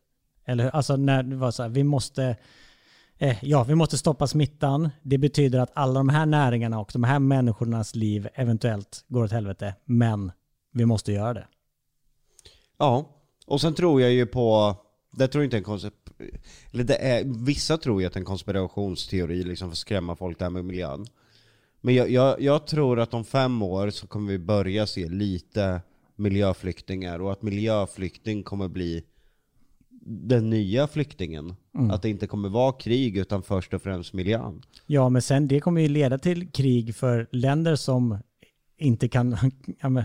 Speaker 3: Eller hur? Alltså när det var så här, vi måste, eh, ja vi måste stoppa smittan. Det betyder att alla de här näringarna och de här människornas liv eventuellt går åt helvete. Men vi måste göra det.
Speaker 2: Ja, och sen tror jag ju på, det tror jag inte en koncept, eller det är, vissa tror ju att det är en konspirationsteori liksom för att skrämma folk där med miljön. Men jag, jag, jag tror att om fem år så kommer vi börja se lite miljöflyktingar och att miljöflykting kommer bli den nya flyktingen. Att det inte kommer vara krig utan först och främst miljön.
Speaker 3: Ja, men sen det kommer ju leda till krig för länder som inte kan... Ja, men,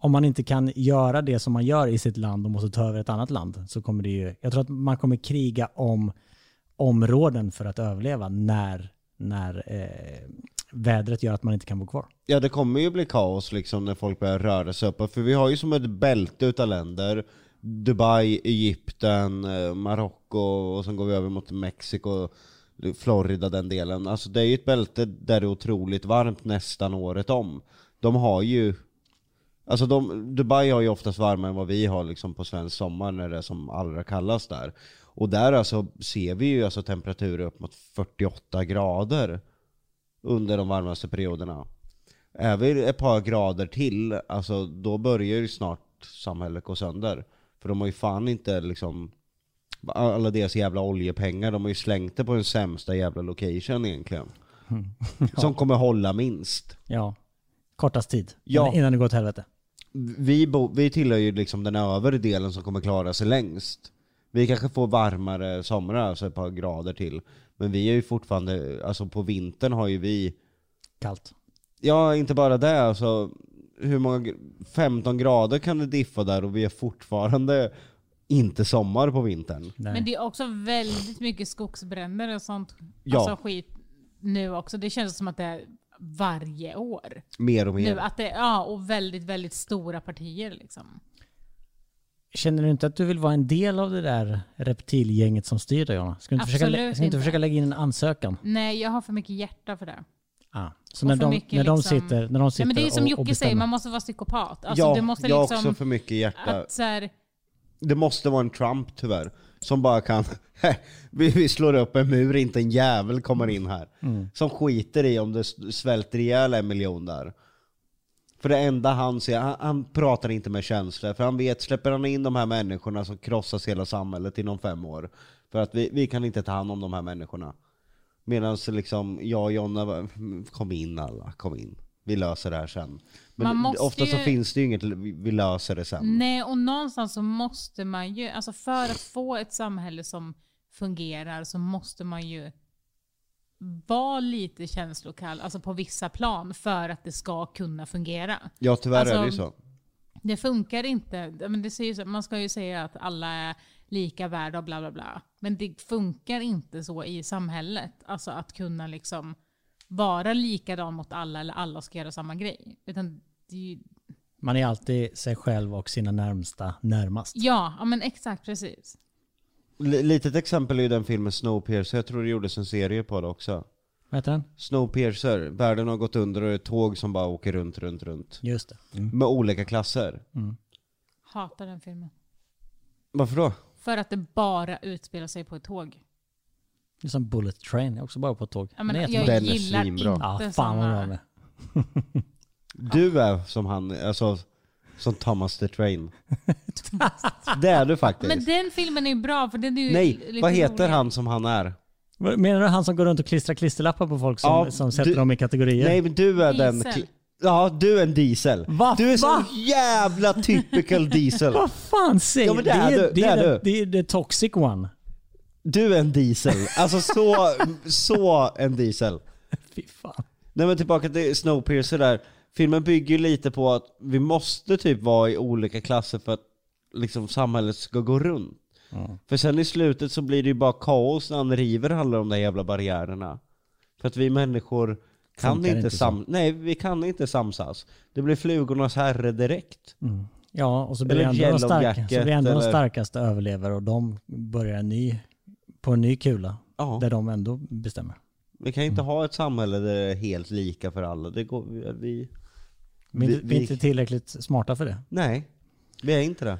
Speaker 3: om man inte kan göra det som man gör i sitt land och måste ta över ett annat land så kommer det ju... Jag tror att man kommer kriga om områden för att överleva när, när eh, vädret gör att man inte kan bo kvar.
Speaker 2: Ja det kommer ju bli kaos liksom när folk börjar röra sig uppåt, för vi har ju som ett bälte utav länder Dubai, Egypten, eh, Marocko och sen går vi över mot Mexiko, Florida den delen. Alltså det är ju ett bälte där det är otroligt varmt nästan året om. De har ju, alltså de, Dubai har ju oftast varmare än vad vi har liksom på svensk sommar när det är som allra kallast där. Och där alltså ser vi ju alltså temperaturer upp mot 48 grader under de varmaste perioderna. Är vi ett par grader till, alltså då börjar ju snart samhället gå sönder. För de har ju fan inte liksom alla deras jävla oljepengar, de har ju slängt det på den sämsta jävla location egentligen. Som kommer hålla minst.
Speaker 3: Ja. Kortast tid.
Speaker 2: Ja.
Speaker 3: Innan- Innan det går åt helvete.
Speaker 2: Vi, bo, vi tillhör ju liksom den övre delen som kommer klara sig längst. Vi kanske får varmare somrar, alltså ett par grader till. Men vi är ju fortfarande, alltså på vintern har ju vi
Speaker 3: Kallt.
Speaker 2: Ja, inte bara det. Alltså, hur många, gr- 15 grader kan det diffa där och vi är fortfarande inte sommar på vintern.
Speaker 3: Nej.
Speaker 4: Men det är också väldigt mycket skogsbränder och sånt
Speaker 2: Ja.
Speaker 4: alltså, skit nu också. Det känns som att det är varje år.
Speaker 2: Mer och mer.
Speaker 4: Nu, att det, ja, och väldigt, väldigt stora partier liksom.
Speaker 3: Känner du inte att du vill vara en del av det där reptilgänget som styr dig, Jonna? Ska du inte, försöka, lä-
Speaker 4: Absolut
Speaker 3: ska du inte
Speaker 4: inte.
Speaker 3: försöka lägga in en ansökan?
Speaker 4: Nej, jag har för mycket hjärta för det.
Speaker 3: Ah. Så
Speaker 4: Och
Speaker 3: när
Speaker 4: för
Speaker 3: de,
Speaker 4: mycket
Speaker 3: när de
Speaker 4: liksom-
Speaker 3: sitter, när de sitter
Speaker 4: ja, men det är som
Speaker 3: och, och
Speaker 4: Jocke
Speaker 3: bestämmer.
Speaker 4: säger, man måste vara psykopat. Alltså,
Speaker 2: ja,
Speaker 4: du måste
Speaker 2: jag har
Speaker 4: liksom...
Speaker 2: också för mycket hjärta.
Speaker 4: Att, så här,
Speaker 2: Det måste vara en Trump tyvärr. Som bara kan, vi, vi slår upp en mur, inte en jävel kommer in här. Som skiter i om det s- svälter ihjäl en miljon där. För det enda han ser, han, han pratar inte med känslor. För han vet, släpper han in de här människorna så krossas hela samhället inom fem år. För att vi, vi kan inte ta hand om de här människorna. Medan liksom jag och Jonna, bara, "Mm, kom in alla, kom in. Vi löser det här sen.
Speaker 4: Man
Speaker 2: Men
Speaker 4: måste
Speaker 2: ofta så
Speaker 4: ju-
Speaker 2: finns det ju inget, vi vi löser det sen.
Speaker 4: nej, och någonstans så måste man ju, alltså för att få ett samhälle som fungerar så måste man ju vara lite känslokall, alltså på vissa plan, för att det ska kunna fungera.
Speaker 2: Ja tyvärr är det ju
Speaker 4: Alltså,
Speaker 2: så.
Speaker 4: Det funkar inte. Ja, Men det säger, så- man ska ju säga att alla är lika värda och bla bla bla. Men det funkar inte så i samhället. Alltså att kunna liksom vara likadan mot alla eller alla ska göra samma grej. Utan det är ju,
Speaker 3: Man är alltid sig själv och sina närmsta närmast.
Speaker 4: ja, ja, men exakt precis.
Speaker 2: L- litet exempel är ju den filmen Snowpiercer, jag tror det gjordes en serie på det också.
Speaker 3: Vad heter den?
Speaker 2: Snowpiercer, världen har gått under och det är tåg som bara åker runt, runt, runt.
Speaker 3: Just det. Mm.
Speaker 2: Med olika klasser.
Speaker 4: Hatar den filmen.
Speaker 2: Varför då?
Speaker 4: För att det bara utspelar sig på ett tåg.
Speaker 3: Det är som Bullet Train, jag är också bara på tåg.
Speaker 4: Ja, men
Speaker 3: Den är
Speaker 4: jag
Speaker 3: jättebra.
Speaker 2: Den är
Speaker 4: gillar
Speaker 2: svinbra.
Speaker 4: inte
Speaker 3: ja, fan vad bra den
Speaker 4: sådana.
Speaker 3: är.
Speaker 2: Du är som han, alltså som Thomas the Train. det är du faktiskt.
Speaker 4: Men den filmen är ju bra för den är ju
Speaker 2: Nej,
Speaker 4: lite
Speaker 2: vad heter
Speaker 4: rolig.
Speaker 2: han som han är?
Speaker 3: Vad- Menar du han som går runt och klistrar klisterlappar på folk som,
Speaker 2: Ja,
Speaker 3: som sätter
Speaker 2: du-
Speaker 3: dem i kategorier?
Speaker 2: Nej men du är
Speaker 4: Diesel.
Speaker 2: den... kli- Ja, du är en diesel.
Speaker 3: Va?
Speaker 2: Du är så
Speaker 3: Va?
Speaker 2: jävla typical diesel.
Speaker 3: Vad fan säger
Speaker 2: Ja, men det är du,
Speaker 3: Det
Speaker 2: det är
Speaker 3: är,
Speaker 2: du.
Speaker 3: det, det är the toxic one.
Speaker 2: Du är en diesel. Alltså så, så en diesel.
Speaker 3: Fy fan.
Speaker 2: Nej men tillbaka till Snowpiercer där. Filmen bygger ju lite på att vi måste typ vara i olika klasser för att liksom samhället ska gå runt. För sen i slutet så blir det ju bara kaos när han river alla de där jävla barriärerna. För att vi människor kan
Speaker 3: Funkar
Speaker 2: inte
Speaker 3: inte så.
Speaker 2: sam- Nej, vi kan inte samsas. Det blir flugornas herre direkt.
Speaker 3: Ja, och så blir,
Speaker 2: Eller
Speaker 3: ändå de,
Speaker 2: Yellow
Speaker 3: starka, så
Speaker 2: Jacket,
Speaker 3: blir ändå de
Speaker 2: eller-
Speaker 3: starkaste överlever och de börjar en ny, på en ny kula.
Speaker 2: Ja.
Speaker 3: Där de ändå bestämmer.
Speaker 2: Vi kan inte ha ett samhälle där det är helt lika för alla. Det går, vi, vi...
Speaker 3: Vi, är
Speaker 2: Vi-
Speaker 3: inte- vi är
Speaker 2: vi-
Speaker 3: inte tillräckligt smarta för det.
Speaker 2: Nej, vi är inte det.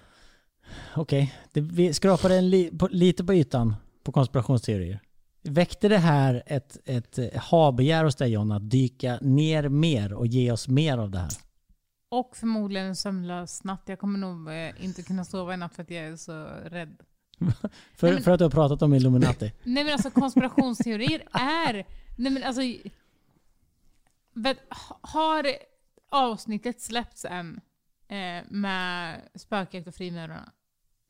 Speaker 3: Okej, det- vi skrapade en li, på, lite på ytan på konspirationsteorier. Väckte det här ett, ett eh, ha-begär hos dig John att dyka ner mer och ge oss mer av det här?
Speaker 4: Och förmodligen en sömnlös natt. Jag kommer nog eh, inte kunna sova i natt för att jag är så rädd.
Speaker 3: För,
Speaker 4: Nej, men-
Speaker 3: för att du har pratat om Illuminati.
Speaker 4: Nej men alltså konspirationsteorier är... Nej men alltså... Vet, har avsnittet släppts än eh, med spökjakt och frimurarna?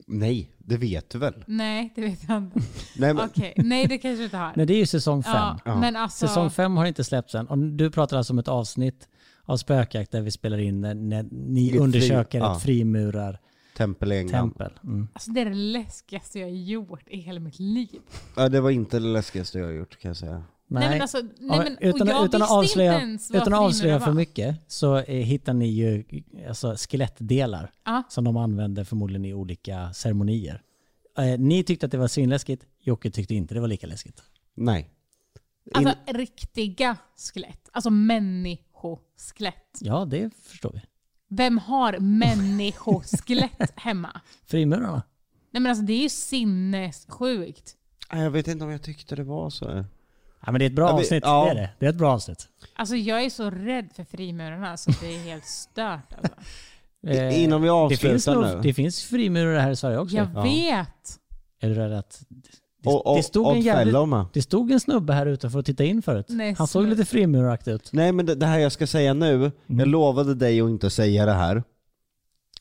Speaker 2: Nej, det vet du väl?
Speaker 4: Nej, det vet jag inte.
Speaker 2: Nej, men...
Speaker 4: Okej, nej det kanske inte har.
Speaker 3: Nej, det är ju säsong fem.
Speaker 4: ja, men alltså...
Speaker 3: Säsong fem har inte släppts än. Och du pratar alltså om ett avsnitt av Spökjakt där vi spelar in när, när ni
Speaker 2: Ett fri-
Speaker 3: undersöker
Speaker 2: ja.
Speaker 3: ett frimurartempel.
Speaker 2: Tempel i England.
Speaker 3: Mm.
Speaker 4: Alltså det är det läskigaste jag har gjort i hela mitt liv.
Speaker 2: Ja, det var inte det läskigaste jag har gjort kan jag säga.
Speaker 4: Nej, men alltså, nej,
Speaker 3: Ja,
Speaker 4: men, och
Speaker 3: utan,
Speaker 4: jag
Speaker 3: utan, att
Speaker 4: visste
Speaker 3: avslöja,
Speaker 4: inte ens vad
Speaker 3: utan att avslöja
Speaker 4: frimurare
Speaker 3: för
Speaker 4: var.
Speaker 3: mycket så eh, hittar ni ju alltså, skelettdelar
Speaker 4: Ja.
Speaker 3: som de använder förmodligen i olika ceremonier. Eh, ni tyckte att det var svinläskigt, Jocke tyckte inte det var lika läskigt.
Speaker 2: Nej.
Speaker 4: Alltså riktiga skelett. Alltså människoskelett.
Speaker 3: Ja, det förstår vi.
Speaker 4: Vem har människoskelett hemma?
Speaker 3: Frimurarna?
Speaker 4: Nej men alltså det är ju sinnessjukt.
Speaker 2: Nej, Jag vet inte om jag tyckte det var så.
Speaker 3: Ja, men det är ett bra
Speaker 2: Ja, vi-
Speaker 3: avsnitt,
Speaker 2: ja.
Speaker 3: det är det. Det är ett bra avsnitt.
Speaker 4: Alltså jag är så rädd för frimurarna så det är helt stört alltså.
Speaker 2: Innan vi
Speaker 3: Eh, det, finns
Speaker 2: avslutar
Speaker 3: nog,
Speaker 2: nu.
Speaker 3: det finns frimurare här i Sverige också.
Speaker 4: Jag vet!
Speaker 3: Är du rädd att... Det,
Speaker 2: Och, och,
Speaker 3: det, stod en
Speaker 2: och
Speaker 3: jävligt,
Speaker 2: fällor med.
Speaker 3: det stod en snubbe här utanför och tittade in förut.
Speaker 4: Nej,
Speaker 3: Han såg
Speaker 4: slut.
Speaker 3: lite frimuraktig ut.
Speaker 2: Nej men det, det här jag ska säga nu,
Speaker 3: Mm.
Speaker 2: jag lovade dig att inte säga det här.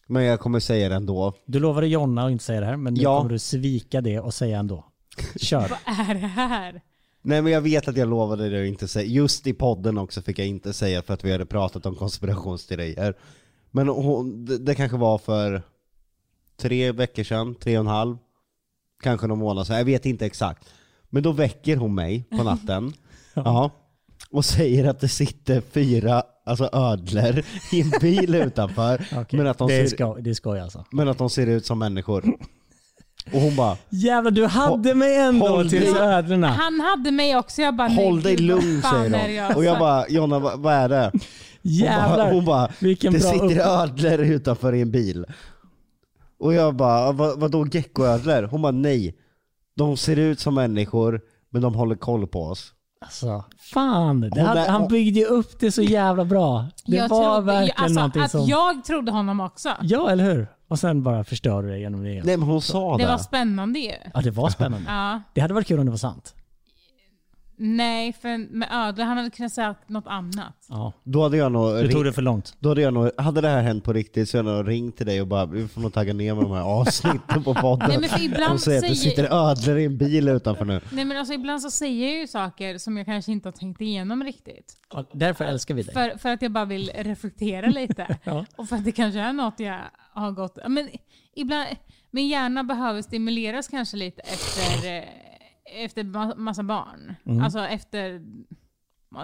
Speaker 2: Men jag kommer säga det ändå.
Speaker 3: Du lovade Jonna att inte säga det här, men nu
Speaker 2: Ja.
Speaker 3: kommer du svika det och säga ändå. Kör.
Speaker 4: Vad är det här?
Speaker 2: Nej men jag vet att jag lovade dig att inte säga, just i podden också fick jag inte säga för att vi hade pratat om konspirationsteorier. Men hon, det, det kanske var för tre veckor sedan, tre och en halv, kanske någon månad sedan, jag vet inte exakt. Men då väcker hon mig på natten, ja, och säger att det sitter fyra alltså ödlor i en bil utanför.
Speaker 3: Okej.
Speaker 2: Men, att de
Speaker 3: det, är
Speaker 2: ser,
Speaker 3: skoj, det är skoj alltså.
Speaker 2: men att de ser ut som människor. Och hon bara,
Speaker 3: Jävlar, du hade mig ändå
Speaker 2: håll
Speaker 3: till
Speaker 2: dig-
Speaker 3: ödlorna.
Speaker 4: Han hade mig också. Jag bara,
Speaker 2: håll
Speaker 4: nej,
Speaker 2: dig
Speaker 4: gud, vad
Speaker 2: lugn
Speaker 4: fan är det
Speaker 2: säger hon. Och jag
Speaker 4: sa?
Speaker 2: bara, Jonna vad vad är det? Hon bara,
Speaker 3: Jävlar.
Speaker 2: hon bara
Speaker 3: vilken
Speaker 2: det
Speaker 3: bra
Speaker 2: sitter
Speaker 3: upp-
Speaker 2: ödlor utanför i en bil. Och jag bara, vad, vadå geckoödlor? Hon bara, nej. De ser ut som människor, men de håller koll på oss.
Speaker 3: Alltså, fan. Det
Speaker 2: Hon
Speaker 3: hade,
Speaker 2: där-
Speaker 3: han
Speaker 2: hon-
Speaker 3: byggde ju upp det så jävla bra. Det
Speaker 4: jag
Speaker 3: var
Speaker 4: trodde,
Speaker 3: verkligen
Speaker 4: alltså,
Speaker 3: någonting
Speaker 4: att
Speaker 3: som...
Speaker 4: Jag trodde honom också.
Speaker 3: Ja, eller hur? Och sen bara förstörde det genom det.
Speaker 2: Nej men hon sa det.
Speaker 4: Det var spännande ju.
Speaker 3: Ja, det var spännande.
Speaker 4: Ja.
Speaker 3: Det hade varit kul om det var sant.
Speaker 4: Nej, för med ödlor, han hade kunnat säga något annat.
Speaker 3: Ja.
Speaker 2: Då hade jag nog,
Speaker 3: Du tog
Speaker 2: ring,
Speaker 3: det för långt.
Speaker 2: då hade, jag nog hade det här hänt på riktigt så hade jag nog ringt till dig och bara, vi får nog tagga ner med de här avsnitten på podden.
Speaker 4: Nej men, för
Speaker 2: Hon
Speaker 4: ibland
Speaker 2: säger att det
Speaker 4: säger,
Speaker 2: sitter ödlor i en bil utanför nu.
Speaker 4: nej men alltså ibland så säger jag ju saker som jag kanske inte har tänkt igenom riktigt.
Speaker 3: Ja, därför älskar vi dig.
Speaker 4: För, för att jag bara vill reflektera lite.
Speaker 3: Ja.
Speaker 4: Och för att det kanske är något jag har gått... ja, Men ibland, min hjärna behöver stimuleras kanske lite efter, eh, efter ma- massa barn. Alltså efter...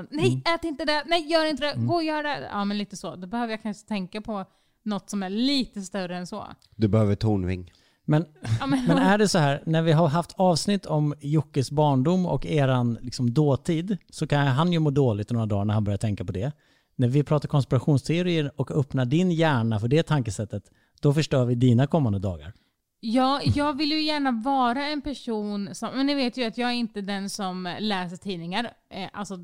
Speaker 4: Nej, ät inte det! Nej, gör inte det! Gå och gör det! Ja, men lite så. Då behöver jag kanske tänka på något som är lite större än så.
Speaker 2: Du behöver Tornving.
Speaker 3: Men,
Speaker 4: Ja, men,
Speaker 3: men är det så här, när vi har haft avsnitt om Jockes barndom och eran liksom, dåtid, så kan han ju må dåligt i några dagar när han börjar tänka på det. När vi pratar konspirationsteorier och öppnar din hjärna för det tankesättet, då förstör vi dina kommande dagar.
Speaker 4: Ja, jag vill ju gärna vara en person som, men ni vet ju att jag är inte den som läser tidningar, eh, alltså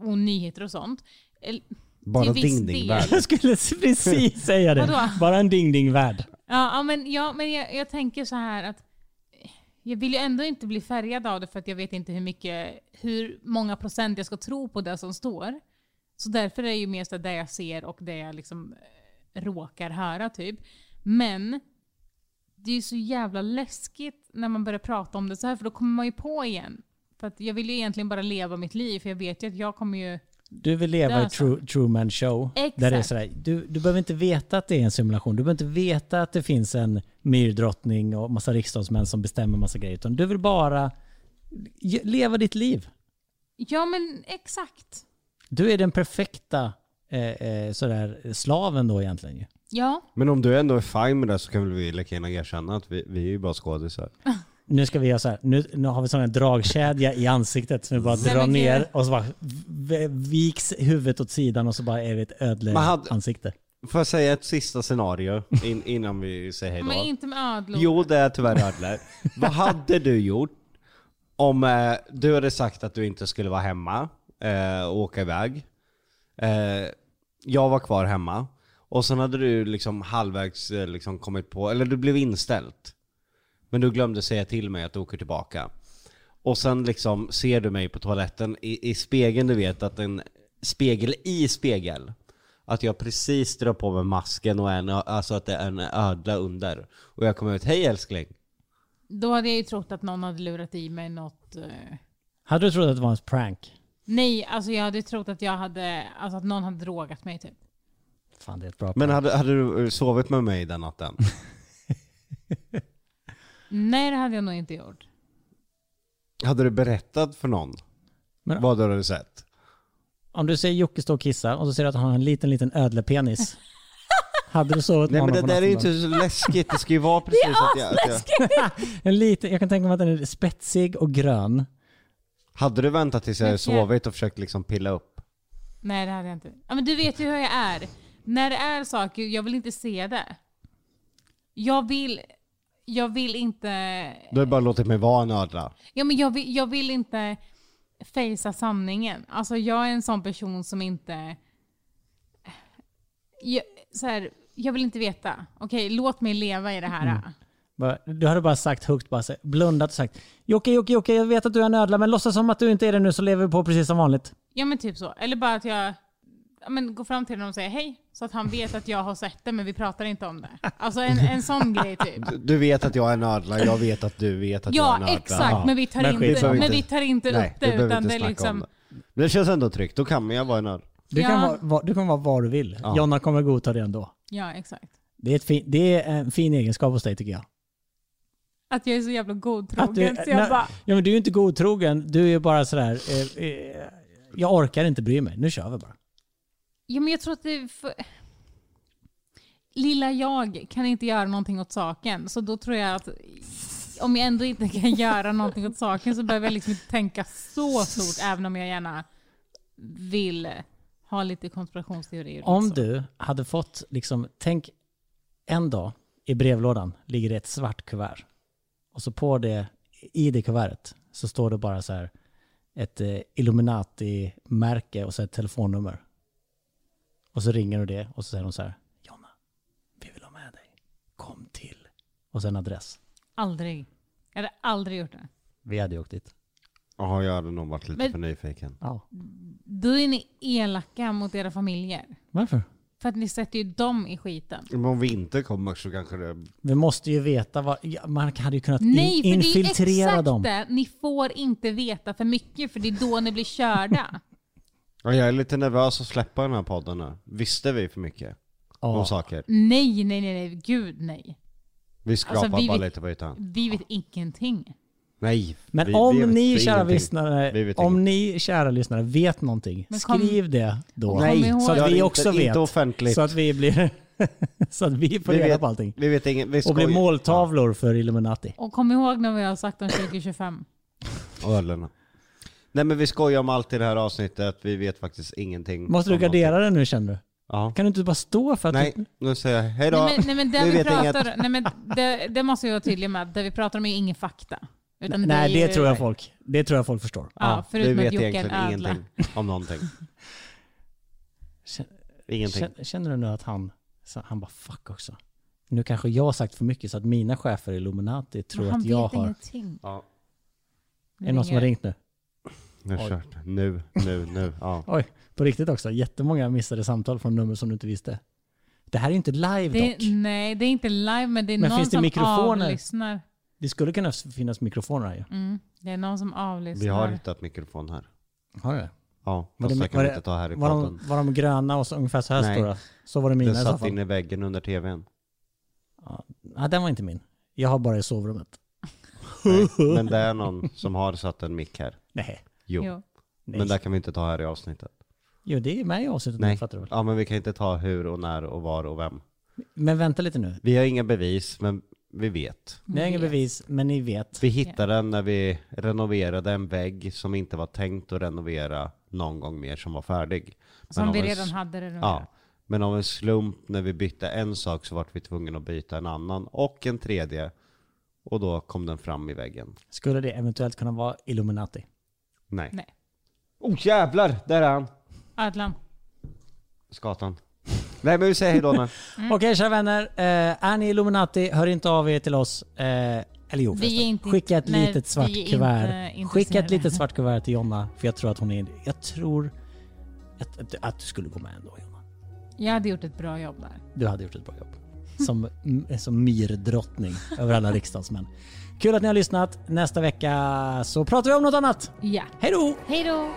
Speaker 4: och nyheter och sånt. Eh, Eller,
Speaker 2: Bara
Speaker 4: till viss
Speaker 2: ding ding
Speaker 4: del.
Speaker 2: värld.
Speaker 3: Jag skulle precis säga det.
Speaker 4: Vadå?
Speaker 3: Bara en ding-ding-värld.
Speaker 4: Ja, ja, men, ja, men jag, jag tänker så här att eh, jag vill ju ändå inte bli färgad av det för att jag vet inte hur mycket, hur många procent jag ska tro på det som står. Så därför är det ju mer så här det jag ser och det jag liksom eh, råkar höra typ. Men det är ju så jävla läskigt när man börjar prata om det så här för då kommer man ju på igen. För att jag vill ju egentligen bara leva mitt liv för jag vet ju att jag kommer ju...
Speaker 3: Du vill leva i
Speaker 4: Lösa.
Speaker 3: true, Truman show.
Speaker 4: Exakt.
Speaker 3: Där det är sådär, du, du behöver inte veta att det är en simulation. Du behöver inte veta att det finns en myrdrottning och massa riksdagsmän som bestämmer massa grejer. Utan du vill bara ge- leva ditt liv.
Speaker 4: Ja men exakt.
Speaker 3: Du är den perfekta eh, eh, sådär, slaven då egentligen. ju.
Speaker 4: Ja.
Speaker 2: Men om du ändå är fine med det så kan väl vi lika gärna erkänna att vi, vi är ju bara skådisar.
Speaker 3: Nu ska vi göra så här. Nu, nu har vi sån här dragkedja i ansiktet som vi bara
Speaker 4: Nej,
Speaker 3: drar
Speaker 4: men gud.
Speaker 3: ner och så bara v- viks huvudet åt sidan och så bara är vi ett ödle
Speaker 2: Men hade-
Speaker 3: ansikte.
Speaker 2: Får jag säga ett sista scenario in, innan vi säger hejdå?
Speaker 4: Men inte med ödlor.
Speaker 2: Jo, det är tyvärr ödlor. Vad hade du gjort om eh, du hade sagt att du inte skulle vara hemma eh, och åka iväg? Eh, jag var kvar hemma. Och sen hade du liksom halvvägs eh, liksom kommit på, eller du blev inställt. Men du glömde säga till mig att du åker tillbaka. Och sen liksom ser du mig på toaletten i, i spegeln, du vet att en spegel i spegel. Att jag precis drar på mig masken och en, alltså att det är en ödla under. Och jag kommer ut, hej älskling.
Speaker 4: Då hade jag ju trott att någon hade lurat i mig något. eh,
Speaker 3: Hade du trott att det var en prank?
Speaker 4: Nej, alltså jag hade trott att jag hade, alltså att någon hade drogat mig typ.
Speaker 3: Fan det är ett bra
Speaker 2: Men hade, hade du eh, sovit med mig den natten?
Speaker 4: Nej, det hade jag nog inte gjort.
Speaker 2: hade du berättat för någon
Speaker 3: Men-
Speaker 2: vad du hade sett?
Speaker 3: Om du ser Jocke stå och kissa och så ser du att han har en liten, liten ödlepenis. Hade du sovit med
Speaker 2: Nej men det
Speaker 3: honom på
Speaker 2: där är ju
Speaker 3: natten
Speaker 2: inte så läskigt, det ska ju vara precis att jag... Att jag typ-
Speaker 3: då? En liten, jag kan tänka mig att den är spetsig och grön.
Speaker 2: hade du väntat tills jag hade
Speaker 4: Men jag-
Speaker 2: sovit och försökt liksom pilla upp?
Speaker 4: Nej, det hade jag inte. Ja, men du vet ju hur jag är. När det är saker, jag vill inte se det. Jag vill, jag vill inte,
Speaker 2: Du har bara låtit mig vara en ödla.
Speaker 4: ja men jag vill, jag vill inte fejsa sanningen. Alltså jag är en sån person som inte, jag, så här, jag vill inte veta. Okej, låt mig leva i det här.
Speaker 3: Bara- Du hade bara sagt högt, bara så- blundat och sagt Jocke, Jocke, Jocke, jag vet att du är en ödla, men låtsas som att du inte är det nu så lever vi på precis som vanligt.
Speaker 4: Ja men typ så. Eller bara att jag ja, men, går fram till honom och säger hej. Så att han vet att jag har sett det men vi pratar inte om det. Alltså en, en sån grej typ.
Speaker 2: Du- Du vet att jag är en ödla, jag vet att du vet att jag är en
Speaker 4: Ja
Speaker 2: ödla.
Speaker 4: exakt men vi tar
Speaker 3: Men skit,
Speaker 4: inte,
Speaker 2: behöver
Speaker 4: men
Speaker 2: inte-
Speaker 4: vi tar inte
Speaker 2: Nej,
Speaker 4: upp
Speaker 2: du
Speaker 4: det
Speaker 2: behöver
Speaker 4: utan
Speaker 2: inte
Speaker 4: det är
Speaker 2: snacka om
Speaker 4: liksom.
Speaker 2: det. Men det känns ändå tryggt, då kan jag vara en ödla.
Speaker 3: Du,
Speaker 4: Ja.
Speaker 3: kan, vara, vad- du kan vara var du vill.
Speaker 2: Ja.
Speaker 3: Jonna kommer godta det ändå.
Speaker 4: Ja exakt.
Speaker 3: Det är, ett fin, det är en fin egenskap hos dig tycker jag.
Speaker 4: Att jag är så jävla
Speaker 3: Att du,
Speaker 4: godtrogen så jag
Speaker 3: nej,
Speaker 4: bara
Speaker 3: ja, men du är ju inte godtrogen, du är ju bara sådär, eh, eh, jag orkar inte bry mig, nu kör vi bara.
Speaker 4: Ja, men jag tror att det är för... Lilla jag kan inte göra någonting åt saken. Så då tror jag att om jag ändå inte kan göra någonting åt saken så behöver jag liksom inte tänka så stort även om jag gärna vill ha lite konspirationsteorier. och
Speaker 3: Om
Speaker 4: så.
Speaker 3: du hade fått, liksom, tänk en dag i brevlådan ligger det ett svart kuvert. Och så på det, i det kuvertet, så står det bara så här ett eh, Illuminati-märke och så ett telefonnummer. Och så ringer du det och så säger de så här, Jonna, vi vill ha med dig. Kom till. Och sen adress.
Speaker 4: Aldrig. Jag hade aldrig gjort det.
Speaker 3: Vi hade ju åkt dit.
Speaker 2: Jaha, jag hade nog varit lite
Speaker 4: Men-
Speaker 2: för nyfiken.
Speaker 3: Ja.
Speaker 4: Då är ni elaka mot era familjer.
Speaker 3: Varför?
Speaker 4: För att ni sätter ju dem i skiten.
Speaker 2: Men om vi inte kommer så kanske det...
Speaker 3: Vi måste ju veta vad, ja, man hade ju kunnat in,
Speaker 4: Nej, för det är ju
Speaker 3: infiltrera
Speaker 4: exakt
Speaker 3: dem.
Speaker 4: det. Ni får inte veta för mycket för det är då ni blir körda.
Speaker 2: Ja, jag är lite nervös att släppa den här podden nu. Visste vi för mycket
Speaker 3: Ja.
Speaker 2: om saker?
Speaker 4: Nej, nej, nej, nej. Gud nej.
Speaker 2: Vi skrapar
Speaker 4: Alltså, vi
Speaker 2: bara
Speaker 4: vet-
Speaker 2: lite på ytan.
Speaker 4: Vi vet ingenting.
Speaker 2: Nej.
Speaker 3: Men
Speaker 2: vi,
Speaker 3: om
Speaker 2: vi vet
Speaker 3: ni kära
Speaker 2: ingenting. Vi
Speaker 3: lyssnare,
Speaker 2: vet
Speaker 3: om ni kära lyssnare vet någonting,
Speaker 4: Men kom-
Speaker 3: skriv det då.
Speaker 4: Kom Nej, ihåg-
Speaker 3: så
Speaker 2: gör
Speaker 3: att
Speaker 2: det
Speaker 3: vi också
Speaker 2: inte,
Speaker 3: vet.
Speaker 2: Inte offentligt.
Speaker 3: Så att vi blir... så att vi får
Speaker 2: Vi
Speaker 3: reda
Speaker 2: vet-
Speaker 3: på allting.
Speaker 2: Vi vet inget. Vi
Speaker 3: Och blir
Speaker 2: skojar.
Speaker 3: måltavlor för Illuminati.
Speaker 4: Och kom ihåg när vi har sagt om 2025.
Speaker 2: Ja, och ölen. Nej men vi skojar om allt i det här avsnittet. Vi vet faktiskt ingenting.
Speaker 3: Måste du
Speaker 2: om någonting.
Speaker 3: gardera det nu känner du?
Speaker 2: Ja.
Speaker 3: Kan du inte bara stå för att...
Speaker 2: Nej, nu säger jag hejdå.
Speaker 4: Nej men, nej, men det
Speaker 2: Vi
Speaker 4: vi
Speaker 2: vet inget.
Speaker 4: pratar nej, men det, det måste jag vara tydlig med. Det vi pratar om är ingen fakta. Utan
Speaker 3: Nej,
Speaker 4: är
Speaker 3: det
Speaker 4: ju-
Speaker 3: tror jag folk, det tror jag folk förstår.
Speaker 4: Ja,
Speaker 2: vi
Speaker 4: förutom att
Speaker 2: vet
Speaker 4: Jocke
Speaker 2: egentligen
Speaker 4: är en ödla.
Speaker 2: ingenting om någonting.
Speaker 3: Kän-
Speaker 2: Ingenting.
Speaker 3: Kän- Känner du nu att han, så han bara fuck också. Nu kanske jag har sagt för mycket så att mina chefer i Illuminati tror
Speaker 4: Men han
Speaker 3: att jag
Speaker 4: vet
Speaker 3: har...
Speaker 4: ingenting.
Speaker 2: Ja,
Speaker 3: Är det någon som har ringt nu?
Speaker 2: nu är det
Speaker 3: Oj.
Speaker 2: kört. Nu, nu, nu. Ja.
Speaker 3: Oj, på riktigt också. Jättemånga missade samtal från nummer som du inte visste. Det här är ju inte live
Speaker 4: Det,
Speaker 3: dock.
Speaker 4: nej, det är inte live men det är
Speaker 3: Men
Speaker 4: någon
Speaker 3: finns det
Speaker 4: som
Speaker 3: mikrofoner?
Speaker 4: avlyssnar.
Speaker 3: Det skulle kunna finnas mikrofoner här ju.
Speaker 4: Mm, det är någon som avlyssnar.
Speaker 2: Vi har hittat mikrofon här.
Speaker 3: Har det?
Speaker 2: Ja,
Speaker 3: Var det-
Speaker 2: fast det kan
Speaker 3: var
Speaker 2: vi
Speaker 3: det-
Speaker 2: inte ta här i
Speaker 3: Var de,
Speaker 2: podden.
Speaker 3: var de gröna och så, ungefär så här
Speaker 2: Nej.
Speaker 3: stora? Så var det mina
Speaker 2: Den
Speaker 3: i så
Speaker 2: satt
Speaker 3: fall.
Speaker 2: inne i väggen under tvn.
Speaker 3: Nej, den var inte min. Jag har bara i sovrummet.
Speaker 2: Nej, men det är någon som har satt en mick här.
Speaker 3: Nej.
Speaker 2: Jo.
Speaker 4: Jo.
Speaker 3: Nej.
Speaker 2: Men det kan vi inte ta här i avsnittet.
Speaker 3: Jo, det är med i avsnittet nu
Speaker 2: Nej.
Speaker 3: fattar du väl?
Speaker 2: Ja men vi kan inte ta hur och när och var och vem.
Speaker 3: Men vänta lite nu.
Speaker 2: Vi har inga bevis, men vi vet.
Speaker 3: Ni har inga bevis, men ni vet.
Speaker 2: Vi hittade den när vi renoverade en vägg som inte var tänkt att renovera någon gång mer som var färdig. Men
Speaker 4: Som
Speaker 2: av
Speaker 4: vi
Speaker 2: en
Speaker 4: redan
Speaker 2: s-
Speaker 4: hade det.
Speaker 2: Ja. Men av en slump när vi bytte en sak så vart vi tvungna att byta en annan och en tredje. Och då kom den fram i väggen.
Speaker 3: Skulle det eventuellt kunna vara Illuminati?
Speaker 2: Nej.
Speaker 4: Nej.
Speaker 2: Oh jävlar, där är han!
Speaker 4: Ödlan.
Speaker 2: Skatan. Nej men vi säger hejdå nu.
Speaker 4: Mm.
Speaker 3: Okej kära vänner, eh, är ni Illuminati, hör inte av er till oss. Eh, eller jo,
Speaker 4: Vi
Speaker 3: förresten.
Speaker 4: är inte-
Speaker 3: skicka ett
Speaker 4: nej,
Speaker 3: litet
Speaker 4: vi är
Speaker 3: svart
Speaker 4: inte
Speaker 3: kuvert.
Speaker 4: intresserade.
Speaker 3: Skicka ett litet svart kuvert till Jonna, för jag tror att hon är... Jag tror att, att, att du skulle gå med ändå Jonna.
Speaker 4: Jag hade gjort ett bra jobb där.
Speaker 3: Du hade gjort ett bra jobb. Som, m- som myrdrottning över alla riksdagsmän. Kul att ni har lyssnat. Nästa vecka så pratar vi om något annat.
Speaker 4: Ja.
Speaker 3: Hej då!
Speaker 4: Hej då!